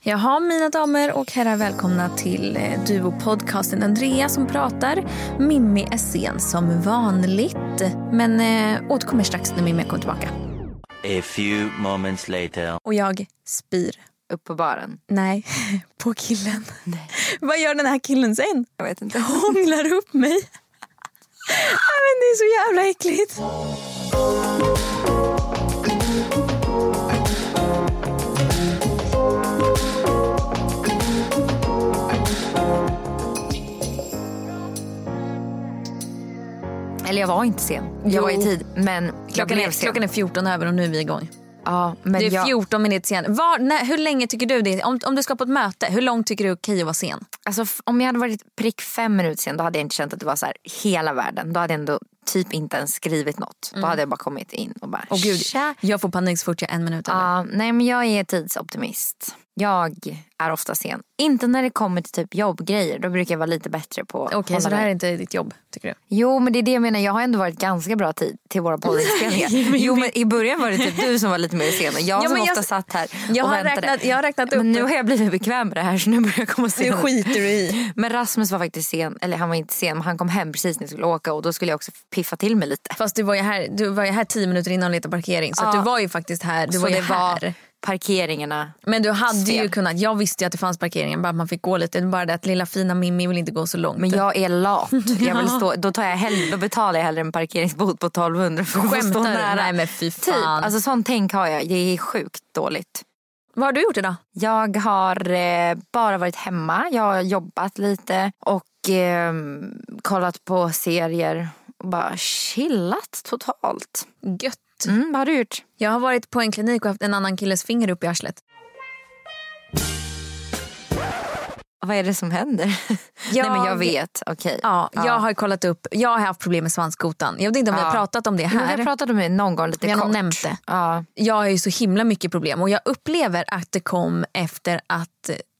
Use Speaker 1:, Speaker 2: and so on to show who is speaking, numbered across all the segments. Speaker 1: Jaha, mina damer och herrar. Välkomna till eh, Duo-podcasten Andrea som pratar. Mimmi är sen som vanligt. Men eh, återkommer strax när Mimmi kommer tillbaka.
Speaker 2: A few moments later.
Speaker 1: Och jag spyr.
Speaker 3: upp på baren.
Speaker 1: Nej, på killen. Vad gör den här killen sen?
Speaker 3: Jag vet inte.
Speaker 1: Hånglar upp mig. Nej, men det är så jävla äckligt.
Speaker 3: Eller jag var inte sen. Jag
Speaker 1: Jo.
Speaker 3: var i tid. Men jag
Speaker 1: Klockan
Speaker 3: blev
Speaker 1: är,
Speaker 3: sen.
Speaker 1: klockan är 14 över och nu är vi igång.
Speaker 3: ja, men
Speaker 1: Du är
Speaker 3: jag,
Speaker 1: 14 minuter sen. Var, när, hur länge tycker du det om, om du ska på ett möte, hur långt tycker du är okej att vara sen?
Speaker 3: alltså, f- om jag hade varit prick fem minuter sen då hade jag inte känt att det var så här hela världen. Då hade jag ändå typ inte ens skrivit något. Då hade jag bara kommit in och bara
Speaker 1: Mm. Åh gud,
Speaker 3: tja.
Speaker 1: jag får panik så fort jag är en minut över.
Speaker 3: Ja, nej men jag är tidsoptimist. Jag är ofta sen. Inte när det kommer till typ jobbgrejer. Då brukar jag vara lite bättre på att
Speaker 1: Okej, så
Speaker 3: hålla
Speaker 1: det här
Speaker 3: mig.
Speaker 1: är inte ditt jobb tycker du?
Speaker 3: Jo men det är det jag menar, jag har ändå varit ganska bra tid till våra poddinspelningar. jo men i början var det typ du som var lite mer sen och jag
Speaker 1: Ja,
Speaker 3: som
Speaker 1: men jag-
Speaker 3: ofta satt här
Speaker 1: jag
Speaker 3: och
Speaker 1: har
Speaker 3: väntade.
Speaker 1: räknat- jag har räknat upp-
Speaker 3: Men nu har jag blivit bekväm med det här så nu börjar jag komma sen.
Speaker 1: skiter du i.
Speaker 3: Men Rasmus var faktiskt sen, eller han var inte sen men han kom hem precis när vi skulle åka och då skulle jag också piffa till mig lite.
Speaker 1: Fast du var ju här, du var ju här 10 minuter innan och letade parkering så att
Speaker 3: Ja.
Speaker 1: du var ju faktiskt här. Du
Speaker 3: så
Speaker 1: var ju
Speaker 3: det
Speaker 1: här.
Speaker 3: var parkeringarna.
Speaker 1: Men du hade ju
Speaker 3: Fel.
Speaker 1: kunnat, jag visste ju att det fanns parkering, bara att man fick gå lite. Det är Bara det att lilla fina Mimmi vill inte gå så långt.
Speaker 3: Men jag är lat. Jag vill stå, då, tar jag hellre, då betalar jag hellre en parkeringsbot på 1200 för att få
Speaker 1: Skämtar
Speaker 3: stå
Speaker 1: du?
Speaker 3: nära.
Speaker 1: Nej men fy fan.
Speaker 3: typ, alltså sånt tänk har jag. Det är sjukt dåligt.
Speaker 1: Vad har du gjort idag?
Speaker 3: Jag har eh, bara varit hemma. Jag har jobbat lite och eh, kollat på serier. Och bara chillat totalt.
Speaker 1: Gött.
Speaker 3: Mm, vad har du gjort?
Speaker 1: Jag har varit på en klinik och haft en annan killes finger upp i arslet.
Speaker 3: Vad är det som händer? Nej men jag
Speaker 1: Jag-
Speaker 3: vet. Okej.
Speaker 1: Ja, jag har kollat upp, jag har haft problem med svanskotan. Jag vet inte om vi har
Speaker 3: Ja.
Speaker 1: pratat om det
Speaker 3: Jo,
Speaker 1: här.
Speaker 3: Jag pratade med någon gång lite
Speaker 1: Vi har nog
Speaker 3: kort.
Speaker 1: nämnt det.
Speaker 3: Ja.
Speaker 1: jag har ju så himla mycket problem och jag upplever att det kom efter att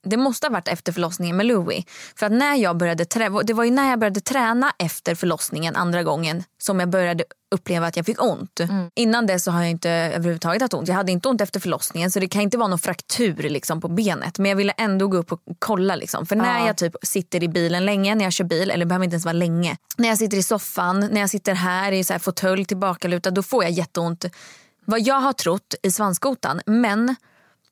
Speaker 1: det måste ha varit efter förlossningen med Louis. För att när jag började trä- det var ju när jag började träna efter förlossningen andra gången som jag började uppleva att jag fick ont. Innan det så har jag inte överhuvudtaget haft ont. Jag hade inte ont efter förlossningen så det kan inte vara någon fraktur liksom, på benet. Men jag ville ändå gå upp och kolla. Liksom. För när jag typ sitter i bilen länge, när jag kör bil, eller det behöver inte ens vara länge. När jag sitter i soffan, när jag sitter här i så här fåtölj tillbakalutad, då får jag jätteont vad jag har trott i svanskotan. Men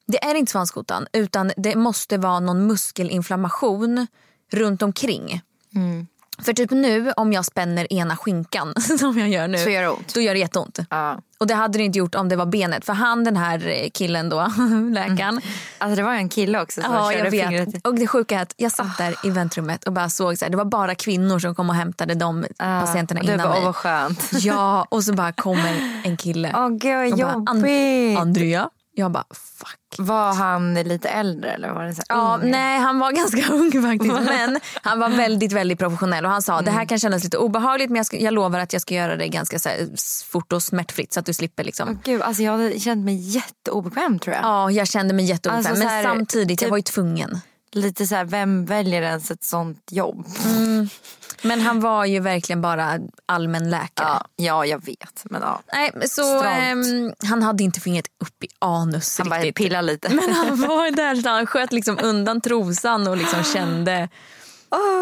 Speaker 1: det är inte svanskotan utan det måste vara någon muskelinflammation runt omkring.
Speaker 3: Mm.
Speaker 1: För typ nu om jag spänner ena skinkan som jag gör nu.
Speaker 3: Så gör det ont.
Speaker 1: Då gör det jätteont.
Speaker 3: Ja.
Speaker 1: Och det hade det inte gjort om det var benet. För han den här eh, killen då, läkaren.
Speaker 3: Alltså det var ju en kille också som
Speaker 1: Ja,
Speaker 3: körde
Speaker 1: jag vet.
Speaker 3: fingret. i-
Speaker 1: Och det sjuka är att jag satt där i väntrummet och bara såg så här, det var bara kvinnor som kom och hämtade de
Speaker 3: Ja,
Speaker 1: patienterna
Speaker 3: och du
Speaker 1: innan
Speaker 3: bara,
Speaker 1: mig.
Speaker 3: Åh vad skönt.
Speaker 1: Ja, och så bara kommer en kille.
Speaker 3: Åh gud,
Speaker 1: Och bara, "An-
Speaker 3: jobbigt.
Speaker 1: Andrea? Jag bara fuck. Mm.
Speaker 3: Var han lite äldre eller var det så här
Speaker 1: Ja,
Speaker 3: ung?
Speaker 1: nej han var ganska ung faktiskt men han var väldigt väldigt professionell och han sa det här kan kännas lite obehagligt men jag, ska, jag lovar att jag ska göra det ganska så här, s- fort och smärtfritt så att du slipper liksom.
Speaker 3: Åh, Gud, alltså jag hade känt mig jätteobekväm tror jag.
Speaker 1: Ja jag kände mig jätteobekväm
Speaker 3: Alltså,
Speaker 1: men
Speaker 3: så här,
Speaker 1: samtidigt jag
Speaker 3: typ-
Speaker 1: var ju tvungen.
Speaker 3: Lite så här, vem väljer ens ett sånt jobb?
Speaker 1: Men han var ju verkligen bara allmänläkare.
Speaker 3: Ja, ja, jag vet. Men ja.
Speaker 1: Nej, men så,
Speaker 3: Stramt.
Speaker 1: ehm, han hade inte fingret upp i anus
Speaker 3: Han bara
Speaker 1: riktigt.
Speaker 3: pillar lite.
Speaker 1: Men han var där så han sköt liksom undan trosan och liksom kände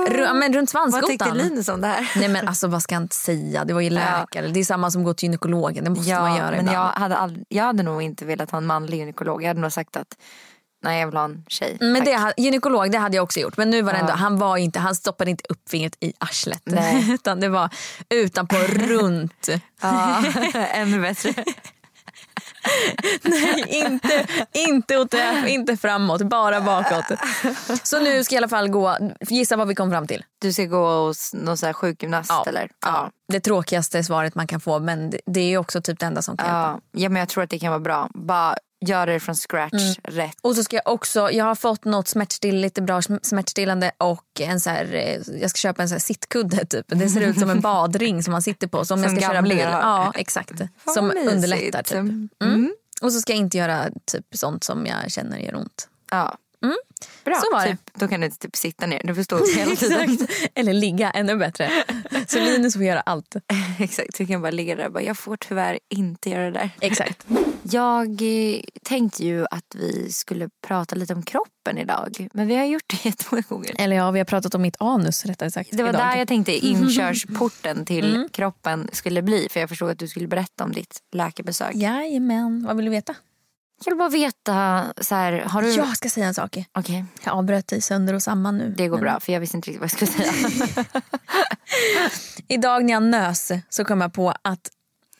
Speaker 1: ru- men runt
Speaker 3: Ah. Vad
Speaker 1: svanskotan.
Speaker 3: tyckte Linus om det här?
Speaker 1: Nej men alltså vad ska jag inte säga? Det var ju läkare. Det är samma som går till gynekologen. Det måste man
Speaker 3: Ja,
Speaker 1: göra
Speaker 3: men
Speaker 1: ibland.
Speaker 3: jag hade, ald- jag hade nog inte velat ha en manlig gynekolog. Jag hade nog sagt att nej, jag vill ha en tjej.
Speaker 1: Mm, men
Speaker 3: tack.
Speaker 1: det, ha- gynekolog det hade jag också gjort. Men nu var det ändå, han, var inte, han stoppade inte upp fingret i arslet.
Speaker 3: Nej.
Speaker 1: Utan det var utanpå runt.
Speaker 3: Ja, ännu bättre.
Speaker 1: Nej, inte, inte, åt det, inte framåt, bara bakåt. Så nu ska jag i alla fall gå, gissa vad vi kom fram till.
Speaker 3: Du ska gå hos någon så här sjukgymnast eller?
Speaker 1: Ja. Det tråkigaste svaret man kan få men det- det är ju också typ det enda som kan hjälpa.
Speaker 3: Ja. ja, men jag tror att det kan vara bra. Bara göra det från scratch
Speaker 1: Mm.
Speaker 3: rätt.
Speaker 1: Och så ska jag också, jag har fått något smärtstill, lite bra sm- smärtstillande och en så här, eh, jag ska köpa en så här sittkudde typ. Det ser ut som en badring som man sitter på. Som, jag
Speaker 3: Som
Speaker 1: ska köra bil.
Speaker 3: gamlingar har.
Speaker 1: Ja, exakt.
Speaker 3: vad
Speaker 1: Som
Speaker 3: mysigt.
Speaker 1: underlättar typ. Mm.
Speaker 3: Mm.
Speaker 1: Och så ska jag inte göra typ sånt som jag känner gör ont.
Speaker 3: Ja. Bra.
Speaker 1: Mm. Så var det.
Speaker 3: typ, Då kan du inte typ sitta ner. Du får stå upp hela tiden.
Speaker 1: Eller ligga, ännu bättre. Så Linus får göra allt.
Speaker 3: Exakt, du kan bara ligga där och bara, jag får tyvärr inte göra det där.
Speaker 1: Exakt.
Speaker 3: Jag eh, tänkte ju att vi skulle prata lite om kroppen idag. Men vi har gjort det jättemånga gånger.
Speaker 1: Eller ja, vi har pratat om mitt anus rättare sagt.
Speaker 3: Det var
Speaker 1: idag. Mm.
Speaker 3: där jag tänkte inkörsporten till kroppen skulle bli. För jag förstod att du skulle berätta om ditt läkarbesök.
Speaker 1: Jajamän, vad vill du veta?
Speaker 3: Jag vill bara veta, så här, har du...
Speaker 1: Jag ska säga en sak.
Speaker 3: Okej,
Speaker 1: Jag avbröt dig sönder och samman nu.
Speaker 3: det går bra. För jag visste inte riktigt vad jag skulle säga.
Speaker 1: Idag när jag nös så kom jag på att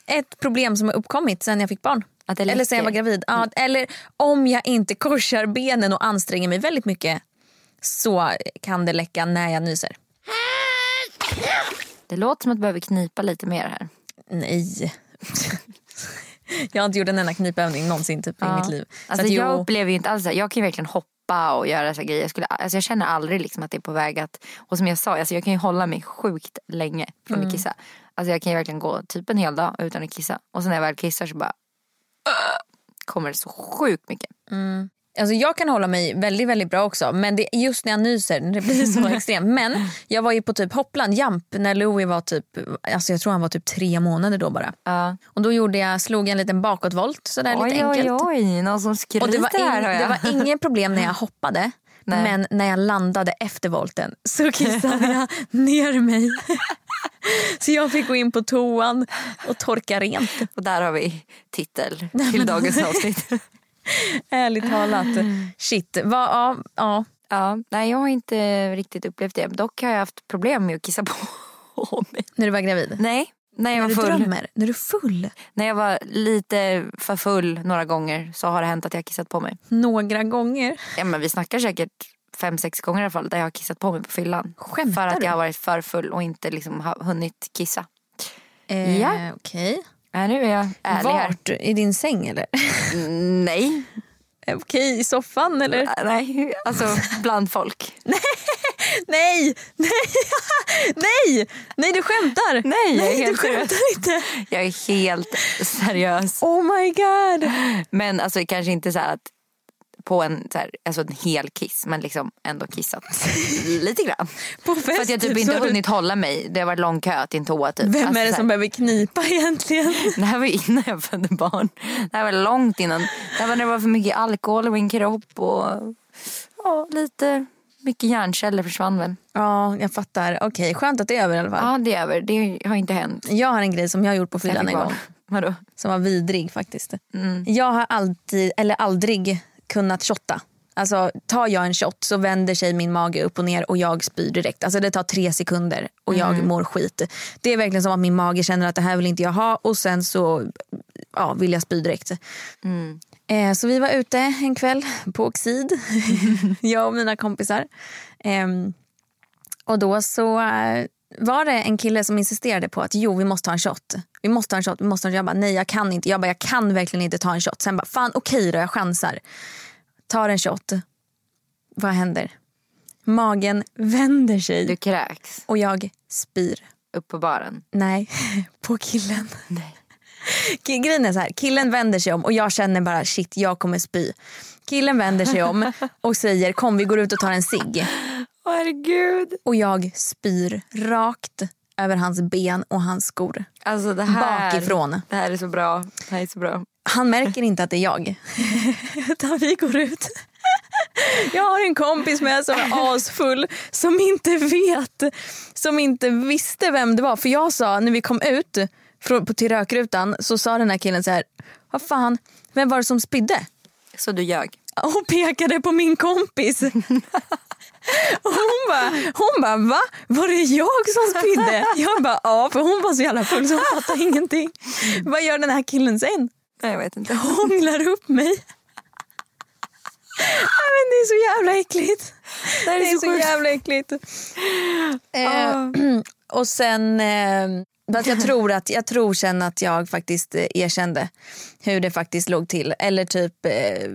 Speaker 1: ett problem som har uppkommit sen jag fick barn.
Speaker 3: Att det
Speaker 1: eller Mm. sen jag var
Speaker 3: läcker.
Speaker 1: gravid. Ja, eller om jag inte korsar benen och anstränger mig väldigt mycket så kan det läcka när jag nyser.
Speaker 3: Det låter som att du behöver knipa lite mer här.
Speaker 1: Nej. jag har inte gjort en enda knipövning någonsin typ, i mitt liv. Så
Speaker 3: Alltså,
Speaker 1: att,
Speaker 3: jag
Speaker 1: jo.
Speaker 3: upplever ju inte alls det. här. Jag kan ju verkligen hoppa och göra så här grejer. Jag, skulle, alltså, jag känner aldrig liksom att det är på väg att... Och som jag sa, alltså, jag kan ju hålla mig sjukt länge från att kissa. Alltså, jag kan ju verkligen gå typ en hel dag utan att kissa. Och sen när jag väl kissar så bara... "Åh!" kommer det så sjukt mycket.
Speaker 1: Alltså jag kan hålla mig väldigt väldigt bra också men det är just när jag nyser när det blir så extremt. Men jag var ju på typ hoppland, jump, när Louis var typ, alltså jag tror han var typ tre månader då bara.
Speaker 3: Ja.
Speaker 1: Och då gjorde jag, slog jag en liten bakåtvolt sådär lite
Speaker 3: Oj,
Speaker 1: enkelt.
Speaker 3: oj, oj. Någon som skryter
Speaker 1: Och det var,
Speaker 3: här hör
Speaker 1: ing, det
Speaker 3: jag.
Speaker 1: var inget problem när jag hoppade
Speaker 3: Nej.
Speaker 1: men när jag landade efter volten så kissade jag ner mig. Så jag fick gå in på toan och torka rent.
Speaker 3: Och där har vi titel till dagens avsnitt.
Speaker 1: Ärligt talat. Shit. Va, ja, ja.
Speaker 3: ja, nej, jag har inte riktigt upplevt det. Dock har jag haft problem med att kissa på mig.
Speaker 1: När du var gravid?
Speaker 3: Nej, när jag
Speaker 1: När du
Speaker 3: var full.
Speaker 1: drömmer? När du är full?
Speaker 3: När jag var lite för full några gånger så har det hänt att jag har kissat på mig.
Speaker 1: några gånger.
Speaker 3: Ja, men vi snackar säkert fem, sex gånger i alla fall där jag har kissat på mig på fyllan.
Speaker 1: Skämtar
Speaker 3: för att
Speaker 1: du?
Speaker 3: jag har varit för full och inte liksom har hunnit kissa.
Speaker 1: Eh,
Speaker 3: Ja.
Speaker 1: Okej.
Speaker 3: Äh, nu är jag ärlig här.
Speaker 1: Vart? I din säng eller? Eh,
Speaker 3: Mm, Nej.
Speaker 1: Okej, i soffan eller?
Speaker 3: Äh, Nej, alltså bland folk.
Speaker 1: Nej! Nej! Nej! Nej, du skämtar!
Speaker 3: Nej, jag är
Speaker 1: Nej du
Speaker 3: helt
Speaker 1: skämtar inte!
Speaker 3: Jag är helt seriös.
Speaker 1: Oh my god!
Speaker 3: Men alltså kanske inte så här att på en, så här, alltså en hel kiss men liksom ändå kissat lite grann.
Speaker 1: På
Speaker 3: För att jag typ
Speaker 1: festen
Speaker 3: inte
Speaker 1: så har du-
Speaker 3: hunnit hålla mig. Det har varit lång kö till en toa typ.
Speaker 1: Vem
Speaker 3: Alltså,
Speaker 1: är
Speaker 3: så
Speaker 1: det
Speaker 3: här-
Speaker 1: som behöver knipa egentligen?
Speaker 3: Det här var ju innan jag födde barn. Det här var långt innan. Det här var när det var för mycket alkohol i min kropp och ja, lite mycket hjärnceller försvann väl.
Speaker 1: Ja, jag fattar. Okej, skönt att det är över i alla fall.
Speaker 3: Ja, det är över. Det har inte hänt.
Speaker 1: Jag har en grej som jag har gjort på
Speaker 3: Jag
Speaker 1: fyllan
Speaker 3: fick
Speaker 1: en
Speaker 3: barn.
Speaker 1: gång.
Speaker 3: Vadå?
Speaker 1: som var vidrig faktiskt. Jag har alltid, eller aldrig kunnat shotta. Alltså tar jag en shot så vänder sig min mage upp och ner och jag spyr direkt. Alltså det tar tre sekunder och jag mår skit. Det är verkligen som att min mage känner att det här vill inte jag ha och sen så ja, vill jag spy direkt. Eh, så vi var ute en kväll på Oxid, jag och mina kompisar. Ehm, och då så eh, var det en kille som insisterade på att jo, vi måste ta en shot. Vi måste ta en shot. Vi måste ta en shot. Jag bara, nej jag kan inte. Jag bara, jag kan verkligen inte ta en shot. Sen bara, fan okej då, jag chansar. Tar en shot. Vad händer? Magen vänder
Speaker 3: Du
Speaker 1: sig
Speaker 3: kräks
Speaker 1: och jag spyr.
Speaker 3: upp på baren.
Speaker 1: Nej, på killen. Ki- Grejen är så här, killen vänder sig om och jag känner bara shit, jag kommer spy. Killen vänder sig om och säger kom vi går ut och tar en cigg
Speaker 3: Åh herregud.
Speaker 1: och jag spyr rakt över hans ben och hans skor.
Speaker 3: Alltså det här.
Speaker 1: Bakifrån.
Speaker 3: Det här är så bra. Det här är så bra.
Speaker 1: Han märker inte att det är jag. Utan vi går ut. Jag har en kompis med som är asfull som inte vet, som inte visste vem det var. För jag sa när vi kom ut från, på, till rökrutan så sa den här killen så här, vad fan, vem var det som spydde?
Speaker 3: Så du ljög.
Speaker 1: och pekade på min kompis. Och hon bara, hon bara, va? Var det jag som spydde? Jag bara, ja, för hon var så jävla full så hon fattade ingenting. Vad gör den här killen sen?
Speaker 3: Nej jag vet inte.
Speaker 1: Hånglar upp mig. Nej, men det är så jävla äckligt.
Speaker 3: Det här
Speaker 1: Det är så
Speaker 3: sjukt.
Speaker 1: jävla äckligt. Eh, och sen... Eh, för att jag tror, att, jag tror sen att jag faktiskt eh, erkände hur det faktiskt låg till. Eller typ... Eh,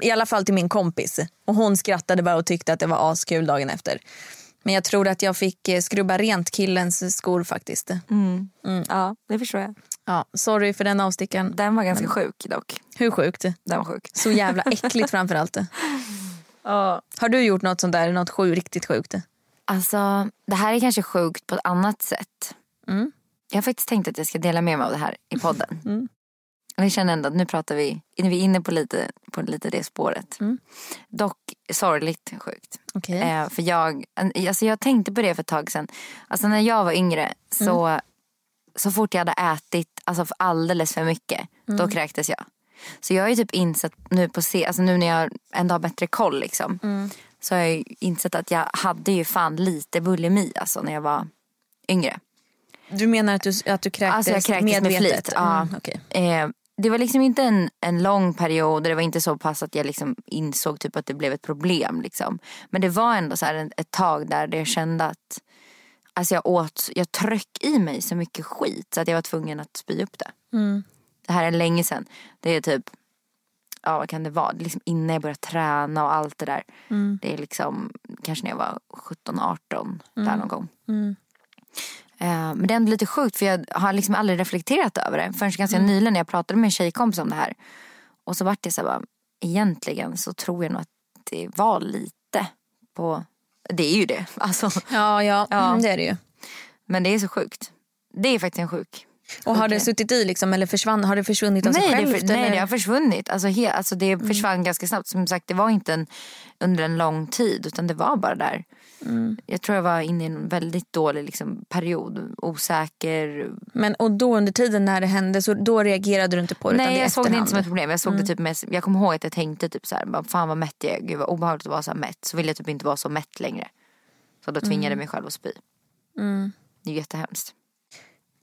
Speaker 1: I alla fall till min kompis. Och Hon skrattade bara och tyckte att det var askul dagen efter. Men jag tror att jag fick eh, skrubba rent killens skor faktiskt.
Speaker 3: Mm. Ja det förstår jag. Mm.
Speaker 1: Ja, sorry för den avstickaren.
Speaker 3: Den var ganska sjuk dock.
Speaker 1: Hur sjukt?
Speaker 3: Den var sjuk.
Speaker 1: Så jävla äckligt framförallt.
Speaker 3: Ja.
Speaker 1: Har du gjort något sånt där, något sju, riktigt sjukt?
Speaker 3: Alltså, det här är kanske sjukt på ett annat sätt.
Speaker 1: Mm.
Speaker 3: Jag har faktiskt tänkt att jag ska dela med mig av det här i podden. Och jag känner ändå att nu pratar vi, nu är vi inne på lite, på lite det spåret.
Speaker 1: Mm.
Speaker 3: Dock sorgligt sjukt.
Speaker 1: Okej.
Speaker 3: Eh, för jag, alltså jag tänkte på det för ett tag sedan. Alltså när jag var yngre så, så fort jag hade ätit alltså för alldeles för mycket, då kräktes jag. Så jag har ju typ insett nu på se, alltså nu när jag ändå har bättre koll liksom. Så har jag ju insett att jag hade ju fan lite bulimi alltså när jag var yngre.
Speaker 1: Du menar att du, att du kräktes,
Speaker 3: Alltså jag kräktes med
Speaker 1: medvetet?
Speaker 3: flit. Ja.
Speaker 1: Mm, okej.
Speaker 3: Eh, det var liksom inte en, en lång period och det var inte så pass att jag liksom insåg typ att det blev ett problem. Liksom. Men det var ändå så här en, ett tag där jag kände att alltså jag, åt, jag tryck i mig så mycket skit så att jag var tvungen att spy upp det.
Speaker 1: Mm.
Speaker 3: Det här är länge sedan. Det är typ, ja vad kan det vara, Det är liksom innan jag började träna och allt det där.
Speaker 1: Mm.
Speaker 3: Det är liksom kanske när jag var 17-18
Speaker 1: Mm.
Speaker 3: där någon gång. Eh, Men det är ändå lite sjukt för jag har liksom aldrig reflekterat över det förrän ganska
Speaker 1: Mm.
Speaker 3: nyligen när jag pratade med en tjejkompis om det här. Och så vart det så här bara, egentligen så tror jag nog att det var lite på, det är ju det alltså.
Speaker 1: Ja, ja,
Speaker 3: Ja.
Speaker 1: Mm, det är det ju.
Speaker 3: Men det är så sjukt. Det är faktiskt en sjuk.
Speaker 1: Och har
Speaker 3: Okej.
Speaker 1: det suttit i liksom, eller försvann, har det försvunnit av sig
Speaker 3: Nej,
Speaker 1: självt?
Speaker 3: det, för, nej
Speaker 1: eller?
Speaker 3: det har försvunnit. Alltså, he, alltså det
Speaker 1: Mm.
Speaker 3: försvann ganska snabbt. Som sagt det var inte en, under en lång tid utan det var bara där.
Speaker 1: Mm.
Speaker 3: Jag tror jag var inne i en väldigt dålig liksom, period. Osäker,
Speaker 1: Men, och då under tiden när det hände, så då reagerade du inte på det? utan
Speaker 3: Nej
Speaker 1: det är
Speaker 3: jag såg det inte som
Speaker 1: efterhand.
Speaker 3: ett
Speaker 1: Mm.
Speaker 3: problem. Jag, såg det typ med, jag kommer ihåg att jag tänkte typ så här, bara, fan vad mätt jag är. Gud vad obehagligt att vara så här mätt. Så ville jag typ inte vara så mätt längre. Så då
Speaker 1: Mm.
Speaker 3: tvingade jag mig själv att spy. Det är ju jättehemskt.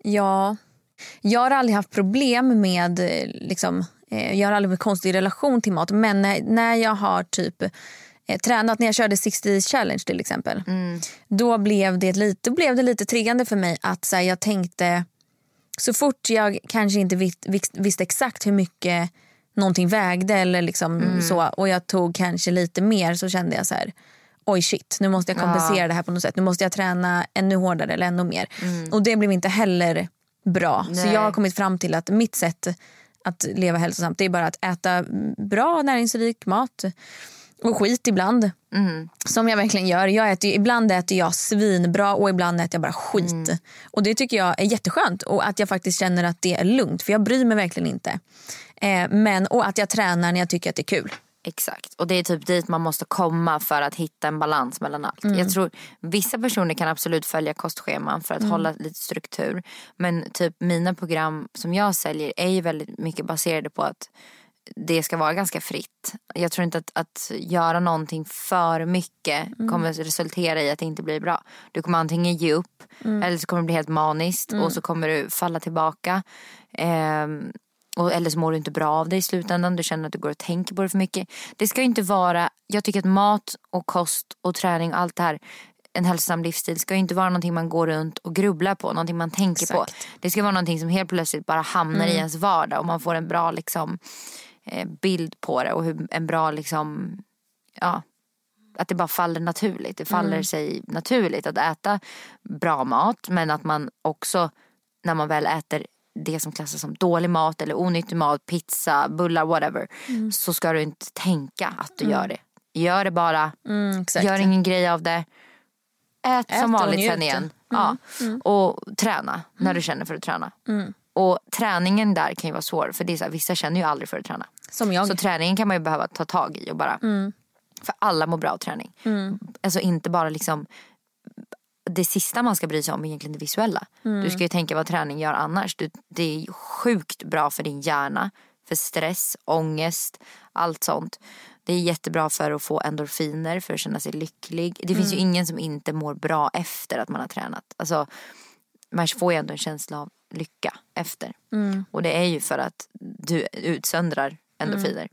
Speaker 1: Ja. Jag har aldrig haft problem med, eh, liksom, eh, jag har aldrig haft en konstig relation till mat. Men när, när jag har typ eh, tränat, när jag körde 60 days challenge till exempel. Då, blev det lite, då blev det lite triggande för mig att så här, jag tänkte, så fort jag kanske inte vit- vix- visste exakt hur mycket någonting vägde eller liksom så och jag tog kanske lite mer så kände jag så här oj shit nu måste jag kompensera det här på något sätt nu måste jag träna ännu hårdare eller ännu mer och det blev inte heller bra så
Speaker 3: Nej.
Speaker 1: jag har kommit fram till att mitt sätt att leva hälsosamt det är bara att äta bra näringsrik mat och skit ibland
Speaker 3: Mm.
Speaker 1: som jag verkligen gör. Jag äter, ju- ibland äter jag svinbra och ibland äter jag bara skit.
Speaker 3: Mm.
Speaker 1: Och Det tycker jag är jätteskönt och att jag faktiskt känner att det är lugnt för jag bryr mig verkligen inte. Eh, men, och att jag tränar när jag tycker att det är kul.
Speaker 3: Exakt. Och det är typ dit man måste komma för att hitta en balans mellan allt. Jag tror vissa personer kan absolut följa kostscheman för att hålla lite struktur. Men typ mina program som jag säljer är ju väldigt mycket baserade på att det ska vara ganska fritt. Jag tror inte att, att göra någonting för mycket kommer resultera i att det inte blir bra. Du kommer antingen ge upp eller så kommer det bli helt maniskt och så kommer du falla tillbaka. Ehm, och, eller så mår du inte bra av det i slutändan. Du känner att du går och tänker på det för mycket. Det ska ju inte vara, jag tycker att mat och kost och träning och allt det här en hälsosam livsstil ska ju inte vara någonting man går runt och grubblar på, någonting man tänker på.
Speaker 1: Exakt.
Speaker 3: Det ska vara någonting som helt plötsligt bara hamnar i ens vardag och man får en bra liksom, eh, bild på det och hur, en bra liksom, ja, att det bara faller naturligt. Det faller sig naturligt att äta bra mat men att man också när man väl äter det som klassas som dålig mat eller onyttig mat, pizza, bullar, whatever. Så ska du inte tänka att du gör det. Gör det bara,
Speaker 1: Mm, exakt.
Speaker 3: gör ingen grej av det. Ät, Mm.
Speaker 1: Ät
Speaker 3: som
Speaker 1: och
Speaker 3: vanligt sen
Speaker 1: njut.
Speaker 3: igen. Ja. Och träna när du känner för att träna. Och träningen där kan ju vara svår för det är så här, vissa känner ju aldrig för att träna.
Speaker 1: Som jag.
Speaker 3: Så träningen kan man ju behöva ta tag i och bara. För alla mår bra av träning. Alltså inte bara liksom det sista man ska bry sig om är egentligen det visuella. Du ska ju tänka vad träning gör annars. Du, det är ju sjukt bra för din hjärna. För stress, ångest, allt sånt. Det är jättebra för att få endorfiner, för att känna sig lycklig. Det finns ju ingen som inte mår bra efter att man har tränat. Alltså, man får ju ändå en känsla av lycka efter. Och det är ju för att du utsöndrar endorfiner.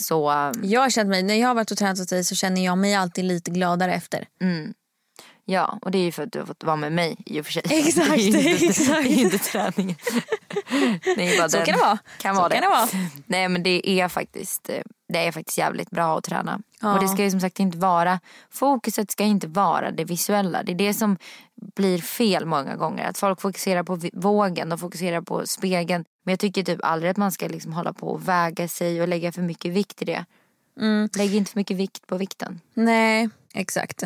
Speaker 3: Så um,
Speaker 1: jag har känt mig, när jag har varit och tränat hos dig så känner jag mig alltid lite gladare efter.
Speaker 3: ja, och det är ju för att du har fått vara med mig i och för sig.
Speaker 1: Exakt,
Speaker 3: det är ju inte,
Speaker 1: exakt.
Speaker 3: Det är ju inte träningen. det är bara
Speaker 1: Så
Speaker 3: den.
Speaker 1: kan det vara.
Speaker 3: Kan
Speaker 1: så
Speaker 3: vara
Speaker 1: kan det vara.
Speaker 3: Nej men det är faktiskt eh, det är faktiskt jävligt bra att träna.
Speaker 1: Ja.
Speaker 3: Och det ska ju som sagt inte vara, fokuset ska inte vara det visuella. Det är det som blir fel många gånger. Att folk fokuserar på vi- vågen, de fokuserar på spegeln. Men jag tycker typ aldrig att man ska liksom hålla på och väga sig och lägga för mycket vikt i det.
Speaker 1: Mm.
Speaker 3: Lägg inte för mycket vikt på vikten.
Speaker 1: Nej, exakt.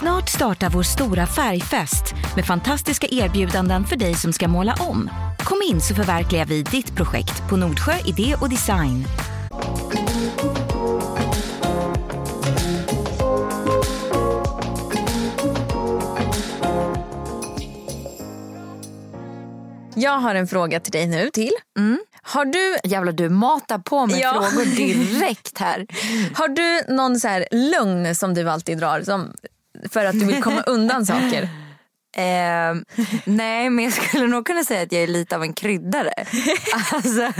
Speaker 4: Snart startar vår stora färgfest med fantastiska erbjudanden för dig som ska måla om. Kom in så förverkligar vi ditt projekt på Nordsjö Idé och Design.
Speaker 1: Jag har en fråga till dig nu till.
Speaker 3: Mm.
Speaker 1: Har, du,
Speaker 3: Jävlar du matar på med
Speaker 1: Ja.
Speaker 3: frågor direkt här.
Speaker 1: har du någon så här lögn som du alltid drar som, för att du vill komma undan saker?
Speaker 3: Ehm, nej men jag skulle nog kunna säga att jag är lite av en kryddare. Alltså,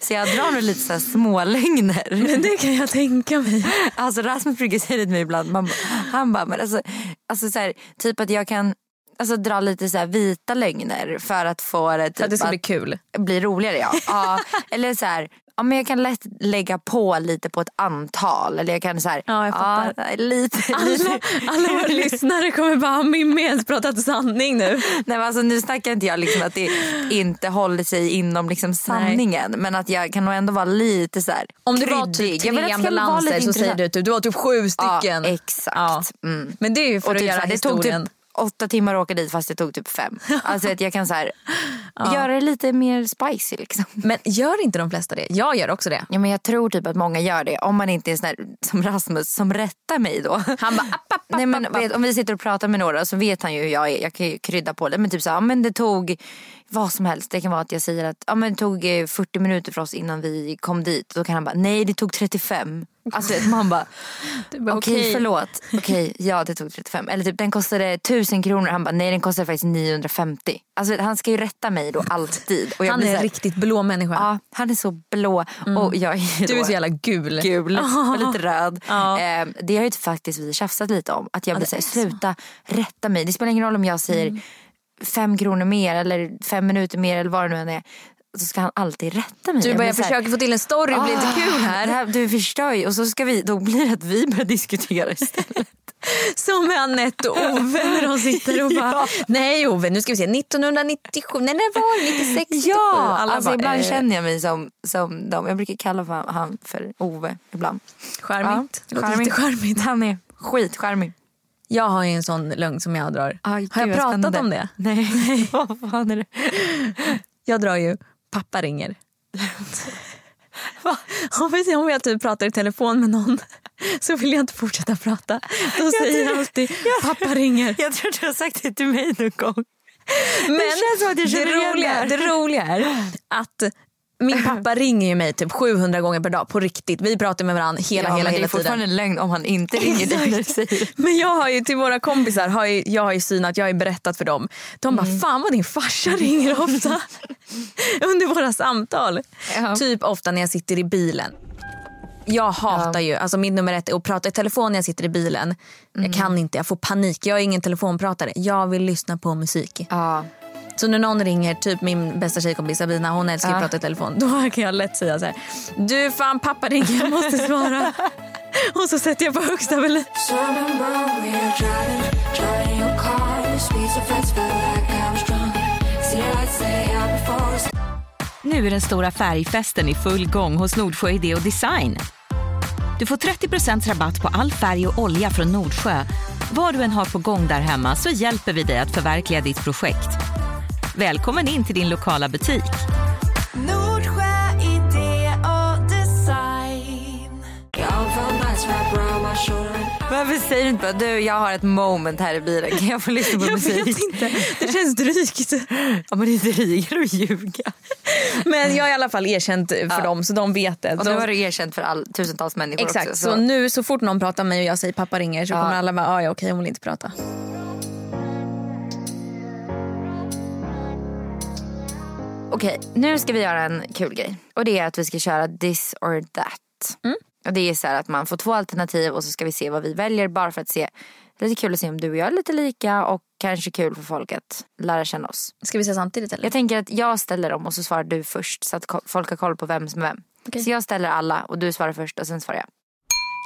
Speaker 3: så jag drar nog lite så här smålögner.
Speaker 1: Det kan jag tänka mig.
Speaker 3: Alltså Rasmus brukar säga det till mig ibland. Man, ba- han bara, men alltså, alltså så här, typ att jag kan alltså, dra lite så här vita lögner för att få det, typ,
Speaker 1: För att det ska bli kul.
Speaker 3: blir roligare ja. ja eller så här, ja, men jag kan lätt lägga på lite på ett antal. Eller jag kan så här,
Speaker 1: Ja, jag fattar. Alltså,
Speaker 3: lite,
Speaker 1: Alla,
Speaker 3: lite.
Speaker 1: alla våra lyssnare kommer bara, har Mimmi ens pratat sanning nu?
Speaker 3: Nej, men alltså, nu snackar inte jag liksom att det inte håller sig inom liksom sanningen. Men att jag kan nog ändå vara lite så här
Speaker 1: Om det var
Speaker 3: kryddig.
Speaker 1: typ
Speaker 3: Jag
Speaker 1: tre
Speaker 3: vill att det ska vara
Speaker 1: ambulanser så
Speaker 3: lite
Speaker 1: säger
Speaker 3: intressant.
Speaker 1: du typ, du har typ sju stycken.
Speaker 3: Ja, exakt.
Speaker 1: Ja.
Speaker 3: Mm.
Speaker 1: Men det är ju för
Speaker 3: Och
Speaker 1: att
Speaker 3: typ så
Speaker 1: göra
Speaker 3: här, det tog typ
Speaker 1: historien.
Speaker 3: åtta timmar att åka dit fast det tog typ fem. Alltså att jag kan så här, göra det lite mer spicy liksom.
Speaker 1: Men gör inte de flesta det? Jag gör också det.
Speaker 3: Ja, men jag tror typ att många gör det. Om man inte är sån här, som Rasmus som rättar mig då.
Speaker 1: Han bara, app, app,
Speaker 3: Nej, men
Speaker 1: app, app.
Speaker 3: vet, om vi sitter och pratar med några så vet han ju hur jag är. Jag kan ju krydda på det. Men typ så här, ja, men det tog vad som helst. Det kan vara att jag säger att ja, men det tog eh, 40 minuter för oss innan vi kom dit. Då kan han bara, nej det tog 35. Alltså vet, man bara, okej
Speaker 1: bara, okej.
Speaker 3: förlåt. Okej, ja det tog 35. Eller typ den kostade 1000 kronor. Han bara, nej den kostade faktiskt 950. Alltså vet, han ska ju rätta mig då alltid. Och jag
Speaker 1: Han
Speaker 3: blir
Speaker 1: är en
Speaker 3: så här,
Speaker 1: riktigt blå människa.
Speaker 3: Ja, han är så blå. Och jag Mm. är ju
Speaker 1: du är
Speaker 3: då-
Speaker 1: så jävla gul.
Speaker 3: gul och lite röd.
Speaker 1: Ja.
Speaker 3: Eh, det har ju faktiskt vi tjafsat lite om. Att jag blir
Speaker 1: det
Speaker 3: såhär,
Speaker 1: är så.
Speaker 3: sluta rätta mig. Det spelar ingen roll om jag säger fem kronor mer eller fem minuter mer eller vad det nu än är. Så ska han alltid rätta mig.
Speaker 1: Du bara, jag
Speaker 3: blir så här,
Speaker 1: försöker få till en story, det blir inte
Speaker 3: "Ah,
Speaker 1: kul
Speaker 3: Det
Speaker 1: här.
Speaker 3: här du förstör ju. Och så ska vi, då blir det att vi börjar diskutera istället.
Speaker 1: Som med Anette och Ove när de sitter och bara,
Speaker 3: Ja.
Speaker 1: nej Ove nu ska vi se 1997, nej när var det 96? 97?" Alla
Speaker 3: alltså
Speaker 1: bara,
Speaker 3: ibland
Speaker 1: "Eh,
Speaker 3: känner jag mig som, som dem. Jag brukar kalla för han för Ove ibland.
Speaker 1: Charmigt.
Speaker 3: Ja,
Speaker 1: Ja, charmigt.
Speaker 3: charmigt. Han är skitcharmig.
Speaker 1: Jag har ju en sån lögn som jag drar.
Speaker 3: Aj,
Speaker 1: har
Speaker 3: gud,
Speaker 1: jag
Speaker 3: vad
Speaker 1: pratat
Speaker 3: spännande.
Speaker 1: om det?
Speaker 3: Nej, vad fan är det?
Speaker 1: Jag drar ju pappa ringer. Om jag, om jag typ pratar i telefon med någon så vill jag inte fortsätta prata. Då säger jag alltid pappa ringer.
Speaker 3: Jag tror du har sagt det till mig någon gång.
Speaker 1: Men
Speaker 3: känns som att jag känner igen det
Speaker 1: roliga,
Speaker 3: här.
Speaker 1: det roliga är att min pappa ringer ju mig typ 700 gånger per dag på riktigt. Vi pratar med varandra hela,
Speaker 3: ja,
Speaker 1: hela,
Speaker 3: men det är
Speaker 1: hela tiden.
Speaker 3: fortfarande en lögn om han inte ringer dig när du säger det.
Speaker 1: Men jag har ju till våra kompisar, har ju, jag har ju synat, jag har ju berättat för dem. De
Speaker 3: Mm.
Speaker 1: bara, fan vad din farsa ringer ofta under våra samtal.
Speaker 3: Ja.
Speaker 1: Typ ofta när jag sitter i bilen. Jag hatar ju, alltså min nummer ett är att prata i telefon när jag sitter i bilen.
Speaker 3: Mm.
Speaker 1: Jag kan inte, jag får panik. Jag är ingen telefonpratare. Jag vill lyssna på musik.
Speaker 3: Ja.
Speaker 1: Så när någon ringer, typ min bästa tjejkompis Sabina, hon älskar att
Speaker 3: Ja.
Speaker 1: prata i telefon. Då kan jag lätt säga så här, du fan pappa ringer, jag måste svara. Och så sätter jag på högsta volym.
Speaker 4: Nu är den stora färgfesten i full gång hos Nordsjö Idé och Design. Du får 30 rabatt på all färg och olja från Nordsjö. Vad du än har på gång där hemma så hjälper vi dig att förverkliga ditt projekt. Välkommen in till din lokala butik.
Speaker 5: Nordsjö idé och design.
Speaker 3: Varför säger du inte bara du, jag har ett moment här i bilen, kan jag få lyssna på
Speaker 1: Jag
Speaker 3: musik?
Speaker 1: vet inte. Det känns drygt.
Speaker 3: Ja, men det driger att ljuga.
Speaker 1: Men jag har i alla fall erkänt för dem så de vet det.
Speaker 3: Och
Speaker 1: De,
Speaker 3: nu har du erkänt för all, tusentals människor
Speaker 1: exakt.
Speaker 3: också.
Speaker 1: så. nu så fort någon pratar med mig och jag säger pappa ringer så kommer alla bara "Ah, ja okej hon vill inte prata.
Speaker 3: Okej, nu ska vi göra en kul grej. Och det är att vi ska köra this or that. Och det är så här att man får två alternativ och så ska vi se vad vi väljer bara för att se. Lite kul att se om du och jag är lite lika och kanske kul för folk att lära känna oss.
Speaker 1: Ska vi säga samtidigt eller?
Speaker 3: Jag tänker att jag ställer dem och så svarar du först så att ko- folk har koll på vem som är vem.
Speaker 1: Okej.
Speaker 3: Så jag ställer alla och du svarar först och sen svarar jag.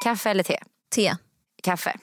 Speaker 3: Kaffe eller te?
Speaker 1: Te.
Speaker 3: Kaffe.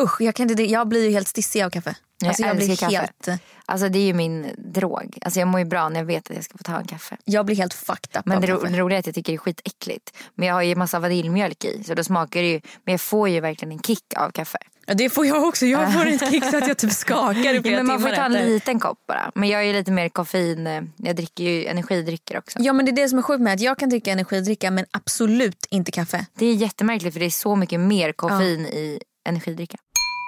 Speaker 1: Usch jag, kan inte, dricka- jag blir ju helt stissig av kaffe.
Speaker 3: Jag
Speaker 1: Alltså, jag, blir
Speaker 3: älskar kaffe.
Speaker 1: helt,
Speaker 3: Alltså det är ju min drog. Alltså jag mår ju bra när jag vet att jag ska få ta en kaffe.
Speaker 1: jag blir helt fucked up
Speaker 3: Men
Speaker 1: av
Speaker 3: det, ro-
Speaker 1: kaffe.
Speaker 3: det roliga är att jag tycker det är skitäckligt. Men jag har ju massa vaniljmjölk i så då smakar det ju. Men jag får ju verkligen en kick av kaffe.
Speaker 1: Ja, det får jag också. Jag får en kick så att jag typ skakar i flera
Speaker 3: Ja, men man får
Speaker 1: timmar
Speaker 3: ta en
Speaker 1: efter.
Speaker 3: liten kopp bara. Men jag är ju lite mer koffein, eh, jag dricker ju energidrycker också.
Speaker 1: Ja men det är det som är sjukt med att jag kan dricka energidricka men absolut inte kaffe.
Speaker 3: Det är jättemärkligt för det är så mycket mer koffein i energidricka.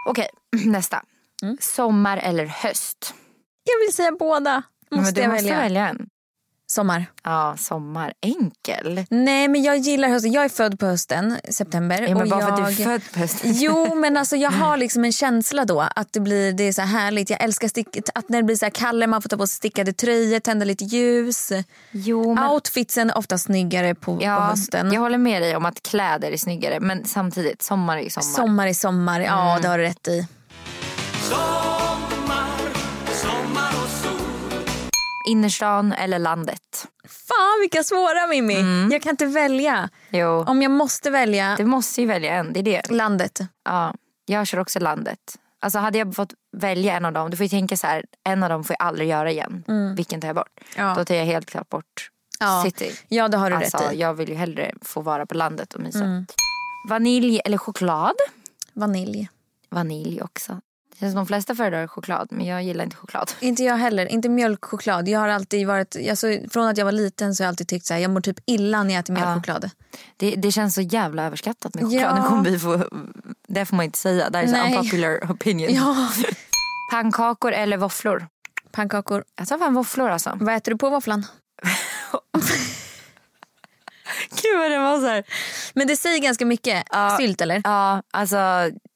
Speaker 3: Okej, nästa.
Speaker 1: Mm.
Speaker 3: Sommar eller höst?
Speaker 1: Jag vill säga båda. Måste
Speaker 3: men du
Speaker 1: jag
Speaker 3: måste
Speaker 1: välja?
Speaker 3: välja. en.
Speaker 1: Sommar.
Speaker 3: Ja, sommar. Enkel.
Speaker 1: Nej men jag gillar hösten. Jag är född på hösten, september.
Speaker 3: Ja, men
Speaker 1: och
Speaker 3: bara för att
Speaker 1: jag...
Speaker 3: du är född på hösten.
Speaker 1: Jo men alltså jag har liksom en känsla då att det blir det är så här härligt. Jag älskar stick, att när det blir så här kallare man får ta på sig stickade tröjor, tända lite ljus.
Speaker 3: Jo, men...
Speaker 1: Outfitsen är ofta snyggare på, på hösten.
Speaker 3: Jag håller med dig om att kläder är snyggare men samtidigt, sommar är ju sommar.
Speaker 1: Sommar i sommar, ja det har du rätt i.
Speaker 3: Innerstan eller landet?
Speaker 1: Fan vilka svåra Mimmi.
Speaker 3: Mm.
Speaker 1: Jag kan inte välja.
Speaker 3: Jo,
Speaker 1: Om jag måste välja
Speaker 3: du måste ju välja en. Det är det.
Speaker 1: landet.
Speaker 3: Ja, jag kör också landet. Alltså hade jag fått välja en av dem, du får ju tänka så här, en av dem får jag aldrig göra igen. Vilken tar jag bort?
Speaker 1: Mm. Ja.
Speaker 3: Då tar jag helt klart bort
Speaker 1: Ja.
Speaker 3: city.
Speaker 1: Ja det har du
Speaker 3: Alltså
Speaker 1: rätt i. Mm.
Speaker 3: jag vill ju hellre få vara på landet och mysa. Vanilj eller choklad?
Speaker 1: Vanilj.
Speaker 3: Vanilj också. Det känns som de flesta föredrar choklad men jag gillar inte choklad.
Speaker 1: Inte jag heller. Inte mjölkchoklad. Jag har alltid varit, alltså, från att jag var liten så har jag alltid tyckt så här, jag mår typ illa när jag äter mjölkchoklad.
Speaker 3: Det, det känns så jävla överskattat med choklad.
Speaker 1: Ja.
Speaker 3: Nu kommer vi få, det får man inte säga. Det här är så
Speaker 1: Nej.
Speaker 3: unpopular opinion.
Speaker 1: Ja.
Speaker 3: Pannkakor eller våfflor?
Speaker 1: Pannkakor.
Speaker 3: Jag tar fan våfflor alltså.
Speaker 1: Vad äter du på våfflan?
Speaker 3: Gud vad det var så här.
Speaker 1: Men det säger ganska mycket. Sylt eller?
Speaker 3: Ja, alltså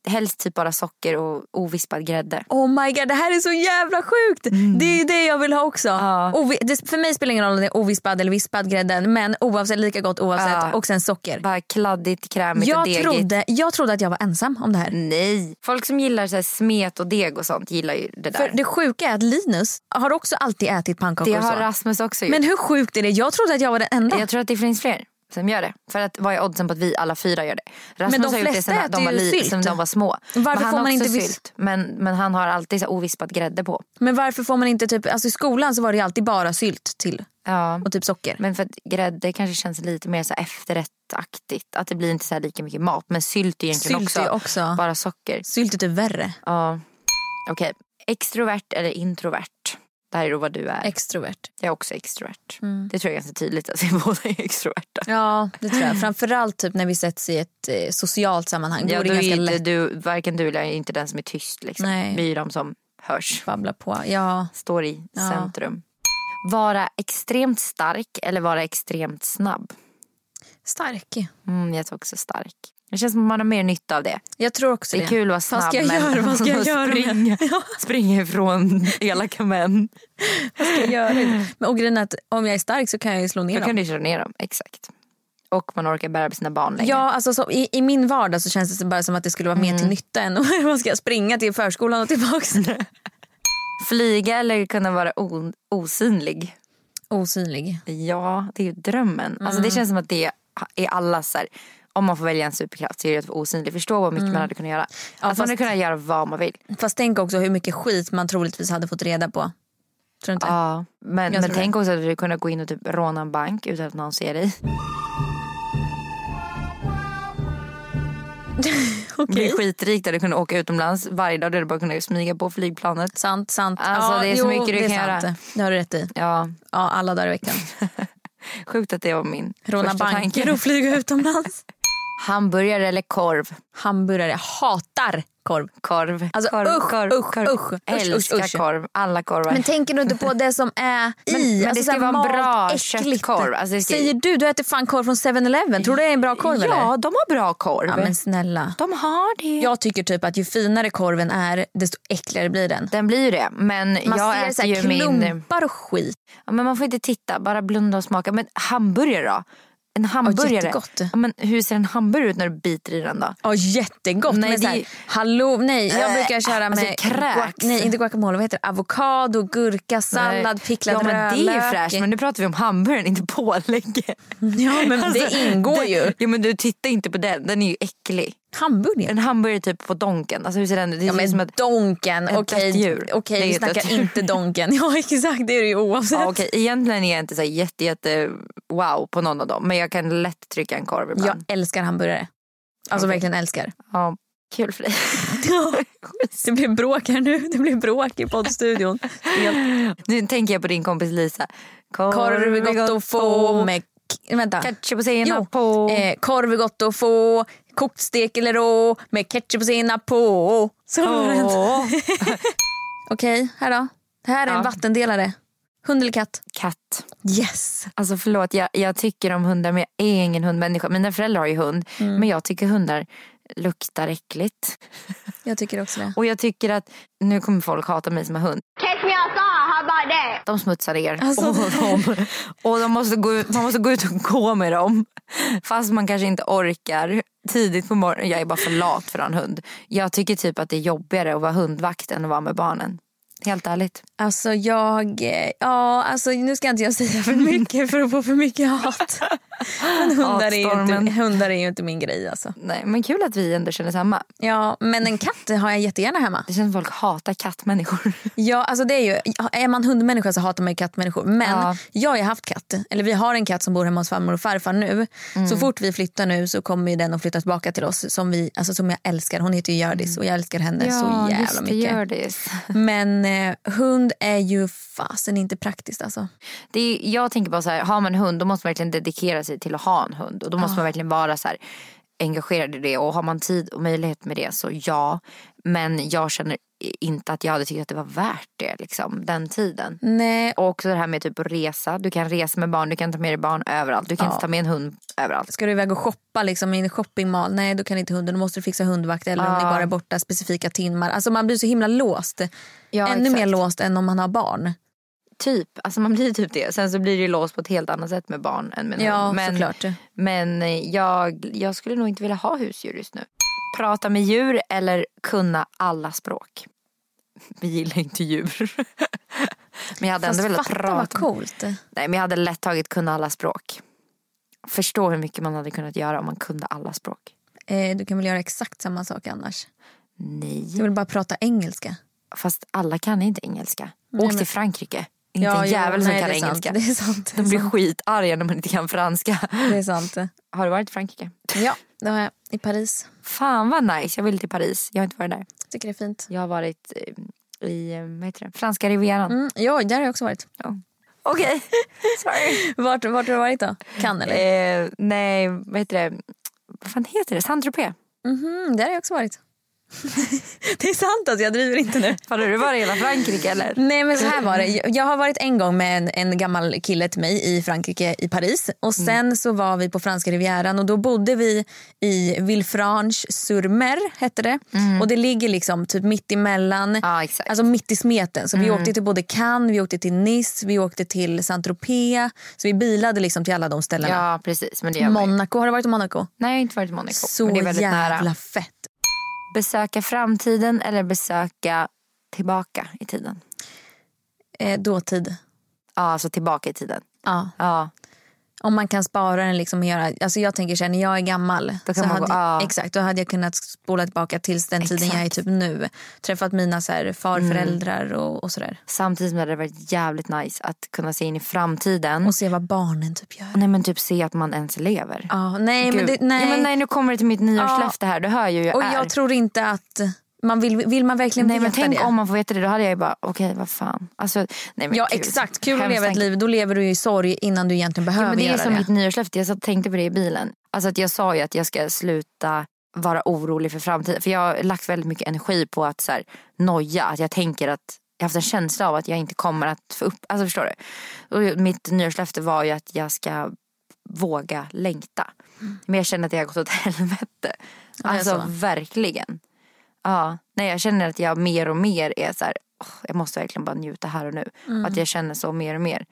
Speaker 3: helst typ bara socker och ovispad grädde.
Speaker 1: Oh my god, det här är så jävla sjukt! Det är ju det jag vill ha också.
Speaker 3: Mm. Ja.
Speaker 1: Ovi- det, för mig spelar ingen roll om det är ovispad eller vispad grädde men oavsett, lika gott oavsett.
Speaker 3: Ja.
Speaker 1: Och sen socker.
Speaker 3: Bara kladdigt, krämigt och
Speaker 1: Jag
Speaker 3: degigt. Mm.
Speaker 1: trodde, jag trodde att jag var ensam om det här.
Speaker 3: Nej. Folk som gillar så här smet och deg och sånt gillar ju det där.
Speaker 1: För det sjuka är att Linus har också alltid ätit pannkakor
Speaker 3: det
Speaker 1: och så.
Speaker 3: har Rasmus också gjort.
Speaker 1: Men hur sjukt är det? Jag trodde att jag var den enda.
Speaker 3: Jag tror att det finns fler som gör det. För att vad är oddsen på att vi alla fyra gör det? Rasmus
Speaker 1: Men de
Speaker 3: har gjort det
Speaker 1: flesta
Speaker 3: sen de
Speaker 1: äter
Speaker 3: var,
Speaker 1: ju
Speaker 3: li-
Speaker 1: sylt.
Speaker 3: sen de var små.
Speaker 1: Varför
Speaker 3: men han
Speaker 1: får
Speaker 3: har
Speaker 1: man
Speaker 3: också
Speaker 1: inte vis-
Speaker 3: sylt. Men, men han har alltid så här ovispad grädde på.
Speaker 1: Men varför får man inte typ, alltså i skolan så var det ju alltid bara sylt till
Speaker 3: Ja.
Speaker 1: och typ socker.
Speaker 3: Men för att grädde kanske känns lite mer så här efterrättaktigt. Att det blir inte så här lika mycket mat. Men sylt är egentligen
Speaker 1: Sylt är ju också-
Speaker 3: bara socker.
Speaker 1: Sylt är typ värre.
Speaker 3: Ja. Okej. Extrovert eller introvert? Det här är då vad du är.
Speaker 1: Extrovert.
Speaker 3: jag är också extrovert.
Speaker 1: Mm.
Speaker 3: Det tror jag är ganska tydligt att vi båda är extroverta.
Speaker 1: Ja det tror jag. Framförallt typ när vi sätts i ett eh, socialt sammanhang. Då
Speaker 3: Ja,
Speaker 1: är det
Speaker 3: du är
Speaker 1: ganska
Speaker 3: inte,
Speaker 1: lätt
Speaker 3: du, varken du eller jag är inte den som är tyst. Liksom.
Speaker 1: Nej.
Speaker 3: Vi är ju de som hörs,
Speaker 1: att babbla på. Ja.
Speaker 3: står i
Speaker 1: Ja.
Speaker 3: centrum. Vara extremt stark eller vara extremt snabb?
Speaker 1: Stark.
Speaker 3: Mm, jag tror också stark. Det känns som att man har mer nytta av det.
Speaker 1: Jag tror också
Speaker 3: Det
Speaker 1: det.
Speaker 3: är kul att vara snabb
Speaker 1: Vad ska jag
Speaker 3: men
Speaker 1: göra? Vad ska jag göra?
Speaker 3: springa, springa ifrån elaka män.
Speaker 1: Jag gör det. Men och grejen är att om jag är stark så kan jag ju slå ner
Speaker 3: Då
Speaker 1: dem.
Speaker 3: kan du köra ner dem, exakt. Och man orkar bära sina barn längre.
Speaker 1: Ja, alltså så, i, i min vardag så känns det så bara som att det skulle vara mer till nytta än om man ska springa till förskolan och tillbaks.
Speaker 3: Flyga eller kunna vara o- osynlig.
Speaker 1: Osynlig.
Speaker 3: Ja, det är ju drömmen. Alltså
Speaker 1: Mm.
Speaker 3: det känns som att det är alla så här, om man får välja en superkraft så är det att vara osynlig. Förstå vad mycket man hade kunnat göra. att man hade
Speaker 1: Mm. fast-
Speaker 3: kunnat göra vad man vill.
Speaker 1: Fast tänk också hur mycket skit man troligtvis hade fått reda på. Tror du inte?
Speaker 3: Ja, men,
Speaker 1: Jag
Speaker 3: men
Speaker 1: tror det.
Speaker 3: tänk också att du kunnat gå in och typ råna en bank utan att någon ser dig. Bli skitrik där du kunde åka utomlands varje dag där du bara kunde smyga på flygplanet.
Speaker 1: Sant, sant.
Speaker 3: Alltså, det är så mycket du
Speaker 1: det är
Speaker 3: kan göra.
Speaker 1: sant. Det har du rätt i.
Speaker 3: Ja,
Speaker 1: Ja, alla dagar i veckan.
Speaker 3: sjukt att det var min
Speaker 1: Råna
Speaker 3: första
Speaker 1: banker
Speaker 3: tanke.
Speaker 1: och flyga utomlands.
Speaker 3: Hamburgare eller korv?
Speaker 1: Hamburgare. Jag hatar korv.
Speaker 3: Korv.
Speaker 1: Alltså,
Speaker 3: korv,
Speaker 1: usch, usch, usch, usch,
Speaker 3: Älskar
Speaker 1: usch.
Speaker 3: korv. Alla korvar.
Speaker 1: Men tänker du inte på det som är i? alltså,
Speaker 3: men det ska
Speaker 1: så här
Speaker 3: vara en
Speaker 1: malt,
Speaker 3: bra
Speaker 1: äckligt.
Speaker 3: köttkorv. Alltså, det ska-
Speaker 1: Säger du, du äter fan korv från 7-Eleven. Tror du det är en bra korv
Speaker 3: ja,
Speaker 1: eller?
Speaker 3: de har bra korv.
Speaker 1: Ja, men snälla.
Speaker 3: De har det.
Speaker 1: Jag tycker typ att ju finare korven är, desto äckligare blir den.
Speaker 3: Den blir ju det. Men
Speaker 1: Man
Speaker 3: jag
Speaker 1: ser så
Speaker 3: äter
Speaker 1: här
Speaker 3: ju min...
Speaker 1: klumpar och skit.
Speaker 3: Ja, men man får inte titta, bara blunda och smaka. Men hamburgare då? En hamburgare.
Speaker 1: jättegott.
Speaker 3: ja, men hur ser en hamburgare ut när du biter i den då?
Speaker 1: Ja, jättegott.
Speaker 3: Nej,
Speaker 1: men så här,
Speaker 3: det är-
Speaker 1: hallå, nej, jag
Speaker 3: Äh,
Speaker 1: brukar köra
Speaker 3: alltså,
Speaker 1: med
Speaker 3: kräks.
Speaker 1: nej, inte guacamole, vad heter det? Avokado, gurka, sallad, picklad
Speaker 3: ja, men Det är ju
Speaker 1: rödlök.
Speaker 3: fräscht men nu pratar vi om hamburgaren, inte pålägget.
Speaker 1: Ja, men
Speaker 3: Alltså,
Speaker 1: det ingår
Speaker 3: den-
Speaker 1: ju.
Speaker 3: Ja, men du tittar inte på den, den är ju äcklig.
Speaker 1: Hamburgare.
Speaker 3: En hamburgare typ på donken, alltså hur ser den ut? Det
Speaker 1: Ja,
Speaker 3: ser ut som
Speaker 1: men
Speaker 3: att...
Speaker 1: donken,
Speaker 3: ett dött
Speaker 1: okej,
Speaker 3: djur.
Speaker 1: okej,
Speaker 3: Det är
Speaker 1: vi
Speaker 3: ett dött
Speaker 1: snackar
Speaker 3: djur.
Speaker 1: inte donken. Ja exakt, det är det ju oavsett.
Speaker 3: Ja, okej. Egentligen är jag inte så här jätte, jätte wow på någon av dem men jag kan lätt trycka en korv ibland.
Speaker 1: Jag älskar hamburgare. Alltså verkligen älskar.
Speaker 3: Ja. Kul för dig.
Speaker 1: Det blir bråk här nu. Det blir bråk i poddstudion. Helt-
Speaker 3: nu tänker jag på din kompis Lisa. Korv,
Speaker 1: Korv är gott att få med... k- Vänta.
Speaker 3: Ketchup och senap
Speaker 1: Jo.
Speaker 3: på.
Speaker 1: Eh, korv är gott att få. Kokt stek eller rå med ketchup och senap på. Så var det.
Speaker 3: Åh.
Speaker 1: Okej, här då. Det här är
Speaker 3: Ja.
Speaker 1: en vattendelare. Hund eller katt?
Speaker 3: Katt.
Speaker 1: Yes.
Speaker 3: Alltså förlåt, jag, jag tycker om hundar men jag är ingen hundmänniska. Mina föräldrar har ju hund.
Speaker 1: Mm.
Speaker 3: Men jag tycker hundar luktar äckligt.
Speaker 1: Jag tycker också det.
Speaker 3: Och jag tycker att, nu kommer folk hata mig som har hund.
Speaker 6: Catch me outside, how about that?
Speaker 3: De smutsar ner
Speaker 1: Alltså-
Speaker 3: och, de, och de måste gå ut, man måste gå ut och gå med dem. Fast man kanske inte orkar tidigt på morgonen. Jag är bara för lat för att ha en hund. Jag tycker typ att det är jobbigare att vara hundvakt än att vara med barnen. Helt ärligt.
Speaker 1: Alltså jag, eh, ja alltså nu ska inte jag säga för mycket för att få för mycket hat. Men hundar är ju
Speaker 3: Hatstormen.
Speaker 1: inte, hundar är ju inte min grej alltså.
Speaker 3: Nej, men kul att vi ändå känner samma.
Speaker 1: Ja men en katt har jag jättegärna hemma.
Speaker 3: Det känns som folk hatar kattmänniskor.
Speaker 1: Ja alltså det är ju, är man hundmänniska så hatar man ju kattmänniskor. Men
Speaker 3: Ja.
Speaker 1: jag har ju haft katt, eller vi har en katt som bor hemma hos farmor och farfar nu.
Speaker 3: Mm.
Speaker 1: Så fort vi flyttar nu så kommer ju den att flytta tillbaka till oss som, vi, alltså som jag älskar. Hon heter ju Hjördis och jag älskar henne så jävla
Speaker 3: just det,
Speaker 1: mycket.
Speaker 3: gör det.
Speaker 1: Men eh, hund är ju fasen inte praktiskt alltså.
Speaker 3: Det är, jag tänker bara så här, har man en hund då måste man verkligen dedikera sig till att ha en hund. Och då måste man verkligen vara så här engagerad i det. Och har man tid och möjlighet med det så ja. Men jag känner i- inte att jag hade tyckt att det var värt det liksom, den tiden.
Speaker 1: Nej
Speaker 3: Och också det här med typ att resa. Du kan resa med barn, du kan ta med dig barn överallt. Du kan inte ta med en hund överallt.
Speaker 1: Ska du iväg och shoppa liksom, i en shoppingmall? Nej, då kan inte hunden. Då måste du fixa hundvakt eller
Speaker 3: Ah.
Speaker 1: om ni bara är borta specifika timmar. Alltså man blir så himla låst.
Speaker 3: Ja,
Speaker 1: Ännu
Speaker 3: exakt.
Speaker 1: mer låst än om man har barn.
Speaker 3: Typ, alltså man blir typ det. Sen så blir det ju låst på ett helt annat sätt med barn än med en
Speaker 1: Ja,
Speaker 3: hund. Men,
Speaker 1: Mm, såklart.
Speaker 3: men eh, jag, jag skulle nog inte vilja ha husdjur just nu. Prata med djur eller kunna alla språk. Vi gillar inte djur. men jag hade
Speaker 1: Fast
Speaker 3: ändå velat
Speaker 1: fatta vad
Speaker 3: prata.
Speaker 1: coolt.
Speaker 3: Nej, men jag hade lätt tagit kunna alla språk. Förstå hur mycket man hade kunnat göra om man kunde alla språk.
Speaker 1: Eh, du kan väl göra exakt samma sak annars? Du
Speaker 3: Nej,
Speaker 1: vill bara prata engelska.
Speaker 3: fast alla kan inte engelska. Åk till Frankrike. Inte en
Speaker 1: jo,
Speaker 3: jävel som
Speaker 1: nej,
Speaker 3: kan
Speaker 1: det är sant.
Speaker 3: engelska.
Speaker 1: Det är sant. Det
Speaker 3: De
Speaker 1: är
Speaker 3: blir
Speaker 1: sant.
Speaker 3: skitarga när man inte kan franska.
Speaker 1: Det är sant.
Speaker 3: Har du varit i Frankrike?
Speaker 1: Ja, det har jag. I Paris.
Speaker 3: Fan vad nice, jag vill till Paris. Jag har inte varit där.
Speaker 1: Tycker det är fint.
Speaker 3: Jag har varit eh, i eh, vad heter det? franska rivieran.
Speaker 1: Mm, ja, där har jag också varit.
Speaker 3: Okej, sorry.
Speaker 1: Vart, vart har du varit då? Cannes eller?
Speaker 3: Eh, nej, vad heter det? Vad fan heter det? Saint-Tropez.
Speaker 1: Mhm, där har jag också varit. det är sant att jag driver inte nu.
Speaker 3: Har du varit i hela Frankrike eller?
Speaker 1: Nej men så här var det.
Speaker 3: Mm.
Speaker 1: Jag- Jag har varit en gång med en, en gammal kille till mig i Frankrike i Paris. Och
Speaker 3: Mm.
Speaker 1: sen så var vi på franska rivieran och då bodde vi i Villefranche-sur-Mer hette det. Och det ligger liksom typ mitt emellan.
Speaker 3: Mm. Ja, Mm. exakt.
Speaker 1: Alltså mitt i smeten. Så vi åkte till både Cannes, vi åkte till Nice, vi åkte till Saint-Tropez. Så vi bilade liksom till alla de ställena.
Speaker 3: Ja, precis. Men det gör man ju.
Speaker 1: Monaco, har du varit i Monaco?
Speaker 3: Nej, jag har inte varit i Monaco.
Speaker 1: Så
Speaker 3: men det är väldigt
Speaker 1: jävla
Speaker 3: nära.
Speaker 1: fett.
Speaker 3: Besöka framtiden eller besöka tillbaka i tiden?
Speaker 1: Eh, dåtid.
Speaker 3: Ja, alltså tillbaka i tiden.
Speaker 1: Ja.
Speaker 3: Ja,
Speaker 1: Om man kan spara den liksom och göra, alltså jag tänker så här, när jag är gammal
Speaker 3: Då kan
Speaker 1: så
Speaker 3: man
Speaker 1: hade,
Speaker 3: gå- ja.
Speaker 1: exakt, då hade jag kunnat spola tillbaka tills den tiden jag är typ nu. Träffat mina så här, farföräldrar
Speaker 3: Mm.
Speaker 1: och, och sådär.
Speaker 3: samtidigt som det hade varit jävligt nice att kunna se in i framtiden.
Speaker 1: Och se vad barnen typ gör.
Speaker 3: Nej men typ se att man ens lever.
Speaker 1: Ja, nej, men
Speaker 3: Gud.
Speaker 1: det, nej.
Speaker 3: Ja, men nej nu kommer det till mitt nyårslöfte här. Du hör ju hur jag
Speaker 1: och
Speaker 3: är.
Speaker 1: jag tror inte att, man vill, vill man verkligen
Speaker 3: nej men
Speaker 1: veta
Speaker 3: tänk
Speaker 1: det?
Speaker 3: om man får veta det. Då hade jag ju bara okej vad fan. Alltså, nej, men
Speaker 1: ja
Speaker 3: gud.
Speaker 1: exakt, kul att
Speaker 3: Hemskt
Speaker 1: leva ett
Speaker 3: tanke.
Speaker 1: liv, då lever du ju i sorg innan du egentligen behöver
Speaker 3: Ja, men det är
Speaker 1: göra
Speaker 3: som
Speaker 1: det.
Speaker 3: mitt nyårslöfte. Jag satt och tänkte på det i bilen. Alltså att jag sa ju att jag ska sluta vara orolig för framtiden. För jag har lagt väldigt mycket energi på att så här, noja. Att jag tänker att jag har haft en känsla av att jag inte kommer att få upp. Alltså förstår du? Och mitt nyårslöfte var ju att jag ska våga längta. Men jag känner att jag har gått åt helvete.
Speaker 1: Mm. är
Speaker 3: Alltså
Speaker 1: så.
Speaker 3: verkligen. Ja, nej jag känner att jag mer och mer är så här, "Åh, jag måste verkligen bara njuta här och nu.
Speaker 1: Mm.
Speaker 3: Att jag känner så mer och mer.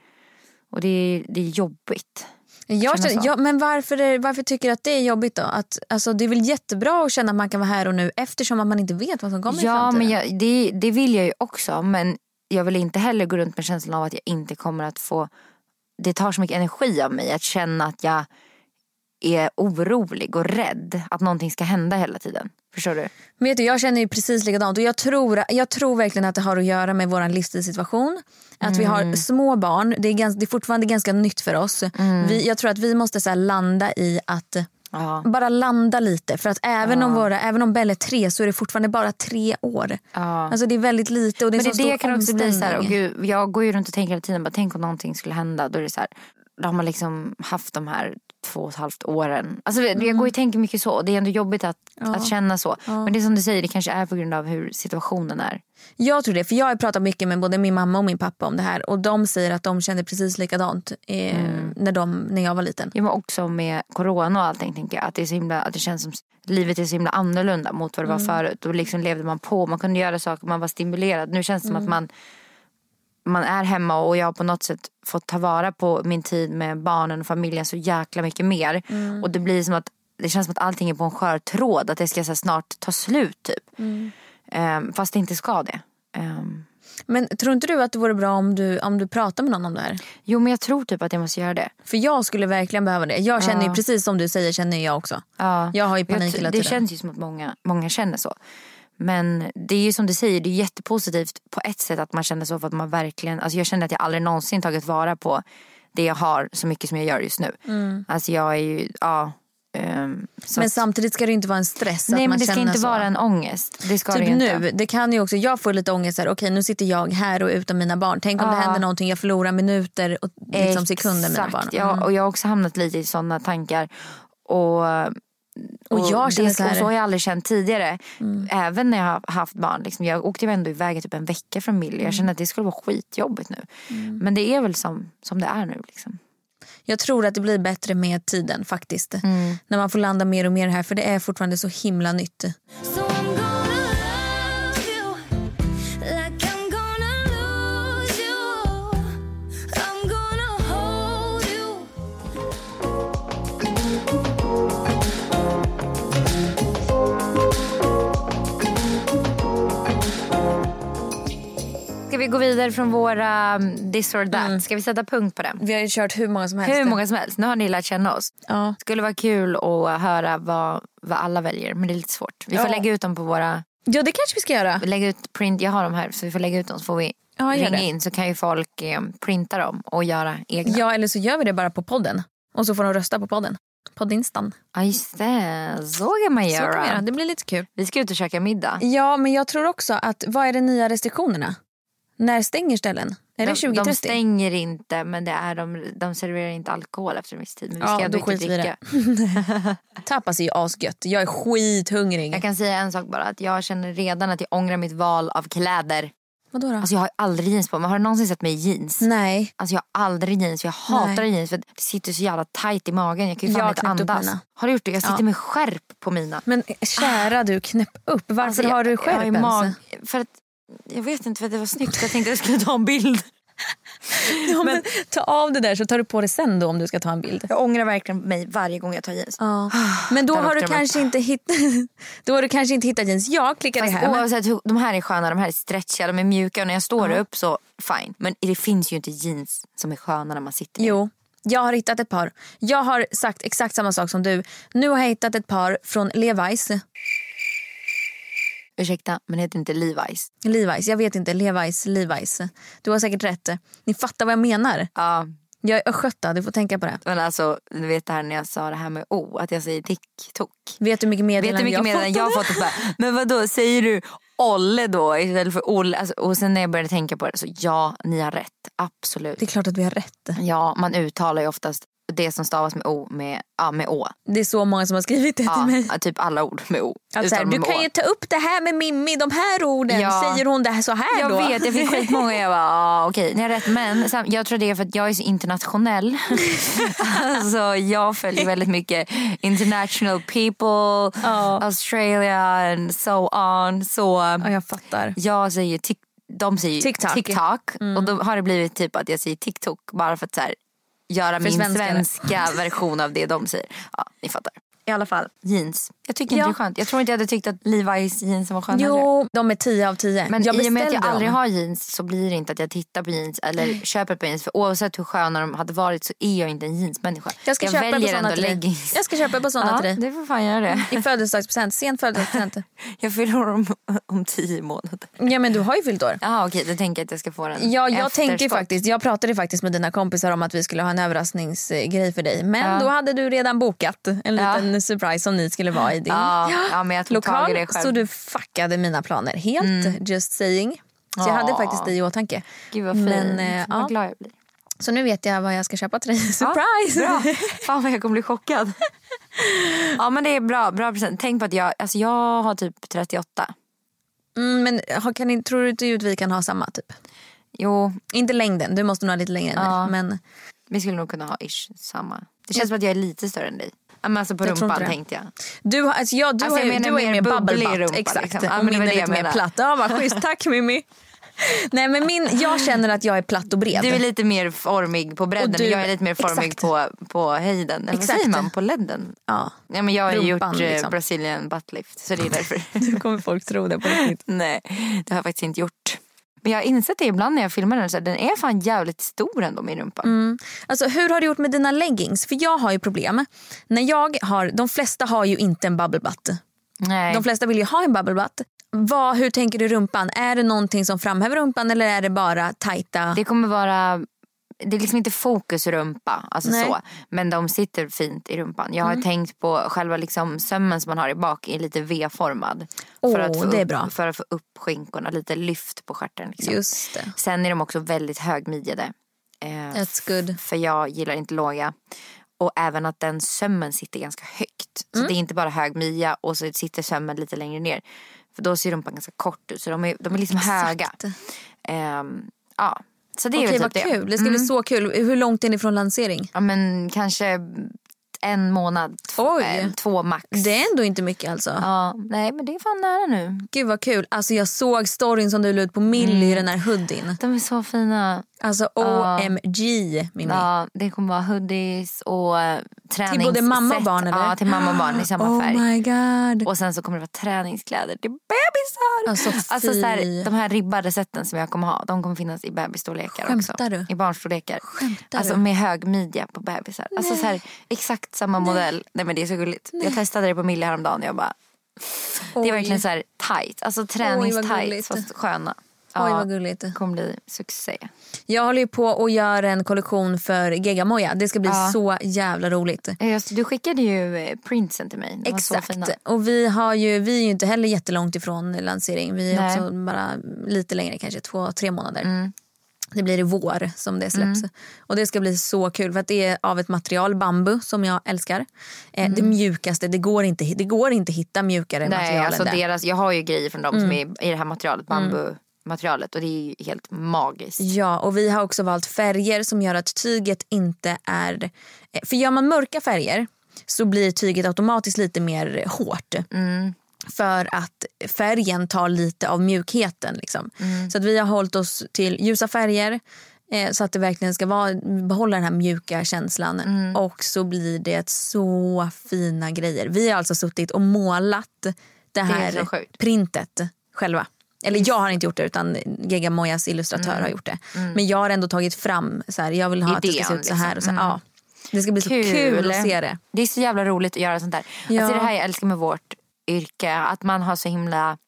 Speaker 3: Och det är, det är jobbigt.
Speaker 1: Jag
Speaker 3: känna
Speaker 1: känner,
Speaker 3: så.
Speaker 1: ja, men varför, är, varför tycker du att det är jobbigt då? Att, alltså, det är väl jättebra att känna att man kan vara här och nu eftersom att man inte vet vad som kommer i
Speaker 3: Ja,
Speaker 1: framtiden.
Speaker 3: men jag, det, det vill jag ju också. Men jag vill inte heller gå runt med känslan av att jag inte kommer att få... Det tar så mycket energi av mig att känna att jag är orolig och rädd. Att någonting ska hända hela tiden. Förstår du?
Speaker 1: Men vet du, jag känner ju precis likadant och jag tror, jag tror verkligen att det har att göra med vår livssituation. Att vi
Speaker 3: Mm.
Speaker 1: har små
Speaker 3: Mm.
Speaker 1: barn, det är, gans, det är fortfarande ganska nytt för oss. Vi, jag tror att vi måste så här landa i att
Speaker 3: Ja.
Speaker 1: bara landa lite. För att även, om våra, även om Belle är tre så är det fortfarande bara tre år.
Speaker 3: Ja.
Speaker 1: Alltså det är väldigt lite och det är
Speaker 3: Men det,
Speaker 1: så stor
Speaker 3: det kan också bli så här, och
Speaker 1: omställning.
Speaker 3: gud, jag går ju runt och tänker hela tiden, bara, tänk om någonting skulle hända. Då är det så här, då har man liksom haft de här två och ett halvt åren. Alltså,
Speaker 1: Mm.
Speaker 3: Jag går ju och tänker mycket så och det är ändå jobbigt att, att känna så. Men det är som du säger, det kanske är på grund av hur situationen är.
Speaker 1: Jag tror det, för jag har pratat mycket med både min mamma och min pappa om det här och de säger att de kände precis likadant eh,
Speaker 3: Mm.
Speaker 1: när, de, när jag var liten.
Speaker 3: Ja, men också med corona och allting tänker jag. Att det, är så himla, att det känns som livet är så himla annorlunda mot vad det var förut. Då liksom levde man på, man kunde göra saker, man var stimulerad. Nu känns det som att man, man är hemma och jag har på något sätt fått ta vara på min tid med barnen och familjen så jäkla mycket mer. Och det blir som att det känns som att allting är på en skör tråd. Att det ska så här, snart ta slut typ. Ehm, fast det inte ska det. Ehm,
Speaker 1: Men tror inte du att det vore bra om du, om du pratar med någon om det här?
Speaker 3: jo men jag tror typ att jag måste göra det.
Speaker 1: För jag skulle verkligen behöva det. Jag känner ju precis som du säger känner jag också.
Speaker 3: Ja.
Speaker 1: Jag har ju
Speaker 3: Jag
Speaker 1: panik
Speaker 3: tr-
Speaker 1: hela
Speaker 3: Det
Speaker 1: tiden.
Speaker 3: känns ju som att många, många känner så. Men det är ju som du säger, det är jättepositivt på ett sätt att man känner så för att man verkligen, alltså jag känner att jag aldrig någonsin tagit vara på det jag har så mycket som jag gör just nu. Alltså jag är ju, ja. ehm, så
Speaker 1: Mm. Men
Speaker 3: att-
Speaker 1: samtidigt ska det ju inte vara en stress. att
Speaker 3: nej
Speaker 1: man
Speaker 3: men det ska
Speaker 1: känner
Speaker 3: inte
Speaker 1: så.
Speaker 3: vara en ångest. Det ska det ju
Speaker 1: Typ
Speaker 3: inte.
Speaker 1: nu, det kan ju också, jag får lite ångest här, okej nu sitter jag här och utan mina barn. Tänk om det
Speaker 3: Ja.
Speaker 1: händer någonting, jag förlorar minuter och liksom sekunder Mm. med mina
Speaker 3: Exakt.
Speaker 1: barn.
Speaker 3: Ja, och jag har också hamnat lite i sådana tankar. Och
Speaker 1: Och jag känner
Speaker 3: det,
Speaker 1: så här- Mm.
Speaker 3: och så har jag aldrig känt tidigare. Även när jag har haft barn. Liksom, jag åkte ju ändå iväg i typ en vecka från Millie.
Speaker 1: Mm.
Speaker 3: Jag kände att det skulle vara skitjobbigt nu. Men det är väl som, som det är nu. Liksom.
Speaker 1: Jag tror att det blir bättre med tiden faktiskt.
Speaker 3: Mm.
Speaker 1: När man får landa mer och mer här för det är fortfarande så himla nytt.
Speaker 7: So I'm gonna love you like I'm gonna lose you. I'm gonna hold you.
Speaker 3: Ska vi gå vidare från våra mm, this or that? Ska vi sätta punkt på det?
Speaker 1: Vi har ju kört hur många som helst.
Speaker 3: Hur många som helst. Nu har ni lärt känna oss.
Speaker 1: Ja.
Speaker 3: skulle vara kul att höra vad, vad alla väljer. Men det är lite svårt. Vi får
Speaker 1: Ja.
Speaker 3: lägga ut dem på våra
Speaker 1: ja, det kanske vi ska göra.
Speaker 3: lägga ut print, jag har dem här så vi får lägga ut dem så får vi
Speaker 1: Ja, gör
Speaker 3: ringa
Speaker 1: det.
Speaker 3: in så kan ju folk eh, printa dem och göra egna.
Speaker 1: Ja, eller så gör vi det bara på podden. Och så får de rösta på podden. Poddinstan.
Speaker 3: Ja just det, så kan
Speaker 1: Så kan
Speaker 3: man
Speaker 1: vi
Speaker 3: göra.
Speaker 1: göra. Det blir lite kul.
Speaker 3: vi ska ut och käka middag.
Speaker 1: Ja, men jag tror också att vad är de nya restriktionerna? När stänger ställen? Är det
Speaker 3: de, de
Speaker 1: 2030?
Speaker 3: stänger inte men det är, de, de serverar inte alkohol efter en viss tid. Men vi
Speaker 1: Ja,
Speaker 3: ska ändå
Speaker 1: då
Speaker 3: ut och
Speaker 1: skiter vi i det.
Speaker 3: dricka.
Speaker 1: Tapas är ju asgött. Jag är skithungrig.
Speaker 3: Jag kan säga en sak bara, att jag känner redan att jag ångrar mitt val av kläder.
Speaker 1: Vadå då?
Speaker 3: Alltså jag har aldrig jeans på mig, har du någonsin sett mig i jeans?
Speaker 1: Nej.
Speaker 3: Alltså jag har aldrig jeans, jag hatar
Speaker 1: Mm. Nej.
Speaker 3: jeans för det sitter så jävla tight i magen. Jag kan ju
Speaker 1: Jag
Speaker 3: fan
Speaker 1: har
Speaker 3: inte
Speaker 1: knäppt upp
Speaker 3: andas.
Speaker 1: mina.
Speaker 3: Har du gjort det? Jag sitter
Speaker 1: Ja.
Speaker 3: med skärp på mina.
Speaker 1: Men kära du, knäpp upp. Varför
Speaker 3: Alltså,
Speaker 1: har du
Speaker 3: jag- jag har
Speaker 1: skärp
Speaker 3: ju
Speaker 1: ens?
Speaker 3: mag- För att, jag vet inte för att det var snyggt. Jag tänkte att jag skulle ta en bild.
Speaker 1: Ja, men, ta av det där så tar du på det sen då om du ska ta en bild.
Speaker 3: Jag ångrar verkligen mig varje gång jag tar jeans.
Speaker 1: Ja. Men då
Speaker 3: Ah, Där
Speaker 1: har, du
Speaker 3: åkte de
Speaker 1: kanske inte hitt- då har du kanske inte hittat jeans. Jag klickade
Speaker 3: Fast
Speaker 1: här. Men...
Speaker 3: oavsett, hur- de här är sköna, de här är stretchiga, de är mjuka och när jag står upp så fine. Men det finns ju inte jeans som är sköna när man sitter ner.
Speaker 1: Jo, jag har hittat ett par. Jag har sagt exakt samma sak som du. Nu har jag hittat ett par från Levi's.
Speaker 3: Ursäkta, men heter inte Levi's?
Speaker 1: Levi's, jag vet inte. Levi's, Levi's. Du har säkert rätt. Ni fattar vad jag menar.
Speaker 3: Ja,
Speaker 1: Jag är östgöta, du får tänka på det.
Speaker 3: men alltså du vet det här när jag sa det här med O, att jag säger TikTok.
Speaker 1: Vet du hur mycket
Speaker 3: Vet du hur
Speaker 1: meddelanden
Speaker 3: mycket
Speaker 1: jag
Speaker 3: meddelanden jag har fått? Och bara, Men vad då säger du Olle då istället för Olle? Alltså, och sen när jag började tänka på det så ja, ni har rätt. Absolut.
Speaker 1: Det är klart att vi har rätt.
Speaker 3: Ja, man uttalar ju oftast det som stavas med o med, ja, med å.
Speaker 1: Det är så många som har skrivit det till
Speaker 3: Ja,
Speaker 1: mig.
Speaker 3: typ alla ord med o.
Speaker 1: Att så här,
Speaker 3: uttalar man
Speaker 1: du
Speaker 3: med
Speaker 1: kan
Speaker 3: å.
Speaker 1: ju ta upp det här med Mimmi, de här orden.
Speaker 3: Ja.
Speaker 1: Säger hon det här så här
Speaker 3: jag
Speaker 1: då?
Speaker 3: vet, jag fick skitmånga. Jag bara, ah, okej, ni har rätt. Men sam- jag tror det är för att jag är så internationell. alltså, jag följer väldigt mycket international people,
Speaker 1: Ja.
Speaker 3: Australia and so on. Så
Speaker 1: Ja, jag fattar.
Speaker 3: jag säger tik- de säger ju
Speaker 1: TikTok. Mm.
Speaker 3: TikTok och då har det blivit typ att jag säger TikTok bara för att så här, göra
Speaker 1: För
Speaker 3: min
Speaker 1: svenskare.
Speaker 3: svenska version av det de säger. Ja, ni fattar. I alla fall jeans. Jag tycker inte
Speaker 1: Ja.
Speaker 3: det är skönt. Jag tror inte jag hade tyckt att Levi's jeans var sköna heller.
Speaker 1: Jo, de är 10 av 10.
Speaker 3: Men
Speaker 1: jag
Speaker 3: i och med att
Speaker 1: beställde
Speaker 3: jag aldrig
Speaker 1: dem.
Speaker 3: har jeans så blir det inte att jag tittar på jeans eller köper på jeans. För oavsett hur sköna de hade varit så är jag inte en jeansmänniska.
Speaker 1: Jag ska köpa på
Speaker 3: väljer
Speaker 1: såna
Speaker 3: ändå
Speaker 1: till dig.
Speaker 3: leggings.
Speaker 1: Jag ska köpa på såna
Speaker 3: Ja,
Speaker 1: till dig.
Speaker 3: du får fan göra det.
Speaker 1: I födelsedagspresent, sen födelsedagspresent.
Speaker 3: Jag fyller år om, om tio månader.
Speaker 1: ja men du har ju fyllt år.
Speaker 3: Jaha okej, du tänker att jag ska få den
Speaker 1: Ja, jag,
Speaker 3: efterskott.
Speaker 1: tänker faktiskt, jag pratade faktiskt med dina kompisar om att vi skulle ha en överraskningsgrej för dig. Men då hade du redan bokat en
Speaker 3: Ja.
Speaker 1: liten en surprise som ni skulle vara i din
Speaker 3: Ja, ja, men jag tog tag i
Speaker 1: lokal.
Speaker 3: det själv. Mm.
Speaker 1: Så du fuckade mina planer helt, just saying. Så jag hade
Speaker 3: Åh.
Speaker 1: faktiskt dig i åtanke.
Speaker 3: Gud vad fint.
Speaker 1: Men, eh,
Speaker 3: vad
Speaker 1: ja.
Speaker 3: glad jag blir.
Speaker 1: Så nu vet jag vad jag ska köpa till dig. Surprise!
Speaker 3: Ja, bra. Fan vad jag kommer bli chockad. ja men det är bra, bra present. Tänk på att jag, alltså jag har typ 38.
Speaker 1: Mm, men har- kan ni, tror du inte att vi kan ha samma typ?
Speaker 3: Jo,
Speaker 1: Inte längden, du måste nog ha lite längre än mig.
Speaker 3: Ja.
Speaker 1: Men
Speaker 3: vi skulle nog kunna ha ish samma. Det känns som att jag är lite större än dig. Ja, Men alltså på
Speaker 1: Jag tror
Speaker 3: rumpan
Speaker 1: inte det.
Speaker 3: tänkte jag.
Speaker 1: du, har- alltså, ja, du,
Speaker 3: Alltså,
Speaker 1: har,
Speaker 3: jag
Speaker 1: ju-
Speaker 3: menar
Speaker 1: du har ju
Speaker 3: mer
Speaker 1: mer
Speaker 3: bubblig
Speaker 1: bubbelbutt.
Speaker 3: rumpa,
Speaker 1: Exakt.
Speaker 3: liksom. Ja,
Speaker 1: och
Speaker 3: men det
Speaker 1: min är
Speaker 3: var det
Speaker 1: lite
Speaker 3: jag
Speaker 1: mer
Speaker 3: menade.
Speaker 1: platt. Ja, vad schysst. Tack Mimmi. Nej men min, jag känner att jag är platt och bred.
Speaker 3: Du är lite mer formig på bredden
Speaker 1: Och du-
Speaker 3: och jag är lite mer formig
Speaker 1: exakt.
Speaker 3: på, på höjden. Eller vad
Speaker 1: Exakt.
Speaker 3: säger man? På ledden?
Speaker 1: Ja.
Speaker 3: Ja, men jag har ju gjort
Speaker 1: Rumpan,
Speaker 3: eh,
Speaker 1: liksom.
Speaker 3: Brazilian butt lift så det är därför.
Speaker 1: Nu kommer folk tro det på riktigt.
Speaker 3: Nej, det har jag faktiskt inte gjort. Men jag har insett det ibland när jag filmar den så här, den är fan jävligt stor ändå min rumpa.
Speaker 1: Alltså, hur har du gjort med dina leggings? För jag har ju problem. När jag har, de flesta har ju inte en bubble butt.
Speaker 3: Nej.
Speaker 1: De flesta vill ju ha en bubble butt. Vad, hur tänker du rumpan? Är det någonting som framhäver rumpan eller är det bara tajta?
Speaker 3: Det kommer vara det är liksom inte fokusrumpa, alltså
Speaker 1: Nej. Mm.
Speaker 3: så. men de sitter fint i rumpan. Jag har tänkt på själva liksom sömmen som man har i bak är lite V-formad. för,
Speaker 1: Åh,
Speaker 3: att få
Speaker 1: det är
Speaker 3: upp-
Speaker 1: bra.
Speaker 3: för att få upp skinkorna, lite lyft på stjärten. Liksom.
Speaker 1: Just det.
Speaker 3: Sen är de också väldigt högmidjade. Eh,
Speaker 1: That's good.
Speaker 3: För jag gillar inte låga. Och även att den sömmen sitter ganska högt.
Speaker 1: Mm.
Speaker 3: Så det är inte bara hög midja och så sitter sömmen lite längre ner. För då ser rumpan ganska kort ut. Så de är, de är liksom höga. Ehm, ja. Så det är
Speaker 1: Okej,
Speaker 3: väl
Speaker 1: vad
Speaker 3: typ
Speaker 1: kul.
Speaker 3: det.
Speaker 1: Det ska bli så kul. Hur långt är ni från lansering?
Speaker 3: Ja men kanske en månad. Två,
Speaker 1: Oj.
Speaker 3: eh, två max.
Speaker 1: Det är ändå inte mycket alltså.
Speaker 3: Ja, nej men det är fan nära nu.
Speaker 1: Gud vad kul. Alltså jag såg storyn som du la ut på Millie
Speaker 3: Mm.
Speaker 1: i den här hoodien.
Speaker 3: De är så fina.
Speaker 1: Alltså OMG Mimmi.
Speaker 3: Ja, det kommer vara hoodies och eh, träningssätt.
Speaker 1: både mamma och barn, eller?
Speaker 3: Ja, till mamma och barn i samma
Speaker 1: oh
Speaker 3: färg.
Speaker 1: my god.
Speaker 3: Och sen så kommer det vara träningskläder till bebisar.
Speaker 1: Alltså, fy.
Speaker 3: alltså så här, de här ribbade sätten som jag kommer ha, de kommer finnas i bebisstorlekar
Speaker 1: Skämtar
Speaker 3: också.
Speaker 1: du?
Speaker 3: I barnstorlekar.
Speaker 1: Skämtar
Speaker 3: alltså
Speaker 1: du?
Speaker 3: med hög midja på bebisar. Alltså så här, exakt samma modell. Nej men det är så gulligt. Jag testade det på Millie häromdagen och jag bara, det
Speaker 1: Oj.
Speaker 3: är verkligen så här tight. Alltså
Speaker 1: gulligt.
Speaker 3: träningstights fast sköna.
Speaker 1: Oj, vad gulligt.
Speaker 3: Det kommer bli succé.
Speaker 1: Jag håller ju på och gör en kollektion för Geggamoja. Det ska bli så jävla roligt.
Speaker 3: Eh, just- Du skickade ju eh, printsen till mig. De var så fina.
Speaker 1: Exakt. Och vi, har ju, vi är ju inte heller jättelångt ifrån lansering. Vi är
Speaker 3: Nej. Mm.
Speaker 1: också bara lite längre, kanske två, tre månader. Det blir i vår som det släpps. Och Det ska bli så kul. För att Det är av ett material, bambu, som jag älskar. Eh, Det mjukaste. Det går inte det går inte hitta mjukare
Speaker 3: Mm. Nej,
Speaker 1: material
Speaker 3: alltså
Speaker 1: än det.
Speaker 3: deras, jag har ju grejer från dem som
Speaker 1: Mm.
Speaker 3: är i det här materialet, bambumaterialet och det är ju helt magiskt.
Speaker 1: Ja, och vi har också valt färger som gör att tyget inte är... eh, För gör man mörka färger så blir tyget automatiskt lite mer hårt. För att färgen tar lite av mjukheten. Liksom.
Speaker 3: Mm.
Speaker 1: Så att vi har hållit oss till ljusa färger eh, så att det verkligen ska vara, behålla den här mjuka känslan.
Speaker 3: Mm.
Speaker 1: Och så blir det så fina grejer. Vi har alltså suttit och målat det här
Speaker 3: så sjukt.
Speaker 1: printet själva. Eller jag har inte gjort det utan Gegga Mojas illustratör
Speaker 3: Mm.
Speaker 1: har gjort det. Men jag har ändå tagit fram så här, jag vill ha att det ska se
Speaker 3: Idén,
Speaker 1: ut så här. Och så,
Speaker 3: liksom.
Speaker 1: ja. Det ska bli så kul att se det.
Speaker 3: Det är så jävla roligt att göra sånt där.
Speaker 1: Ja.
Speaker 3: Alltså det är det här jag älskar med vårt yrke, att man har så himla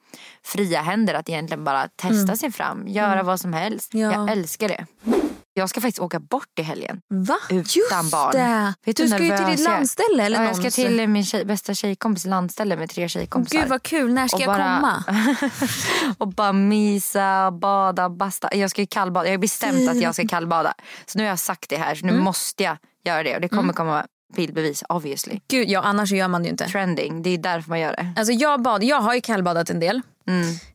Speaker 3: fria händer att egentligen bara testa sig fram, göra vad som helst.
Speaker 1: Mm. Ja.
Speaker 3: Jag älskar det. Jag ska faktiskt åka bort i helgen.
Speaker 1: Va?
Speaker 3: Utan
Speaker 1: Just
Speaker 3: barn.
Speaker 1: det!
Speaker 3: Vet
Speaker 1: du
Speaker 3: hur
Speaker 1: ska ju till
Speaker 3: nervös
Speaker 1: ditt
Speaker 3: jag är?
Speaker 1: landställe eller
Speaker 3: Ja, jag ska
Speaker 1: någons.
Speaker 3: till eh, min tjej, bästa tjejkompis landställe med tre tjejkompisar.
Speaker 1: Gud vad kul, när ska
Speaker 3: Och
Speaker 1: jag
Speaker 3: bara-
Speaker 1: komma?
Speaker 3: och bara mysa, bada, basta. Jag ska ju kallbada. Jag har bestämt att jag ska kallbada. Så nu har jag sagt det här så nu måste jag göra det. Och det kommer komma bildbevis obviously.
Speaker 1: Gud, ja, annars gör man det ju inte.
Speaker 3: Trending, det är därför man gör det.
Speaker 1: Alltså jag, bad, jag har ju kallbadat en del.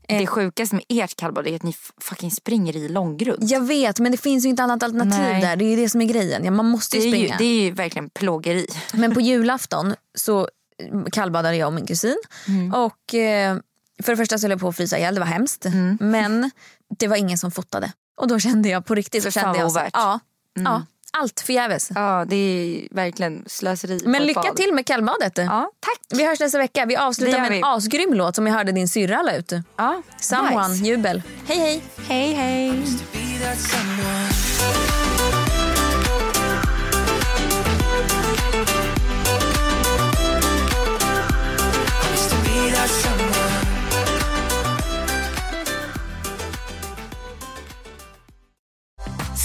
Speaker 3: Det sjukaste med ert kallbad är att ni f- fucking springer i långgrund.
Speaker 1: Jag vet men det finns ju inte annat alternativ
Speaker 3: Nej.
Speaker 1: där. Det är ju det som är grejen. Ja, man måste
Speaker 3: det,
Speaker 1: ju
Speaker 3: är ju,
Speaker 1: springa.
Speaker 3: det är ju verkligen plågeri.
Speaker 1: Men på julafton så mm, kallbadade jag och min kusin.
Speaker 3: Mm.
Speaker 1: Och eh, för det första så höll jag på att frysa ihjäl, det var hemskt.
Speaker 3: Mm.
Speaker 1: Men det var ingen som fotade. Och då kände jag på riktigt.
Speaker 3: För
Speaker 1: så kände
Speaker 3: fan vad
Speaker 1: jag så,
Speaker 3: ovärt.
Speaker 1: ja, ja, allt förgäves.
Speaker 3: Ja, det är verkligen slöseri. på
Speaker 1: Men
Speaker 3: ett
Speaker 1: lycka
Speaker 3: bad.
Speaker 1: till med kallbadet.
Speaker 3: Ja, tack.
Speaker 1: Vi hörs nästa vecka. Vi
Speaker 3: Det
Speaker 1: avslutar
Speaker 3: gör
Speaker 1: med en
Speaker 3: vi.
Speaker 1: asgrym låt som jag hörde din syrra la ut.
Speaker 3: Ja,
Speaker 1: Someone,
Speaker 3: nice.
Speaker 1: jubel. Hej hej!
Speaker 3: Hej, hej.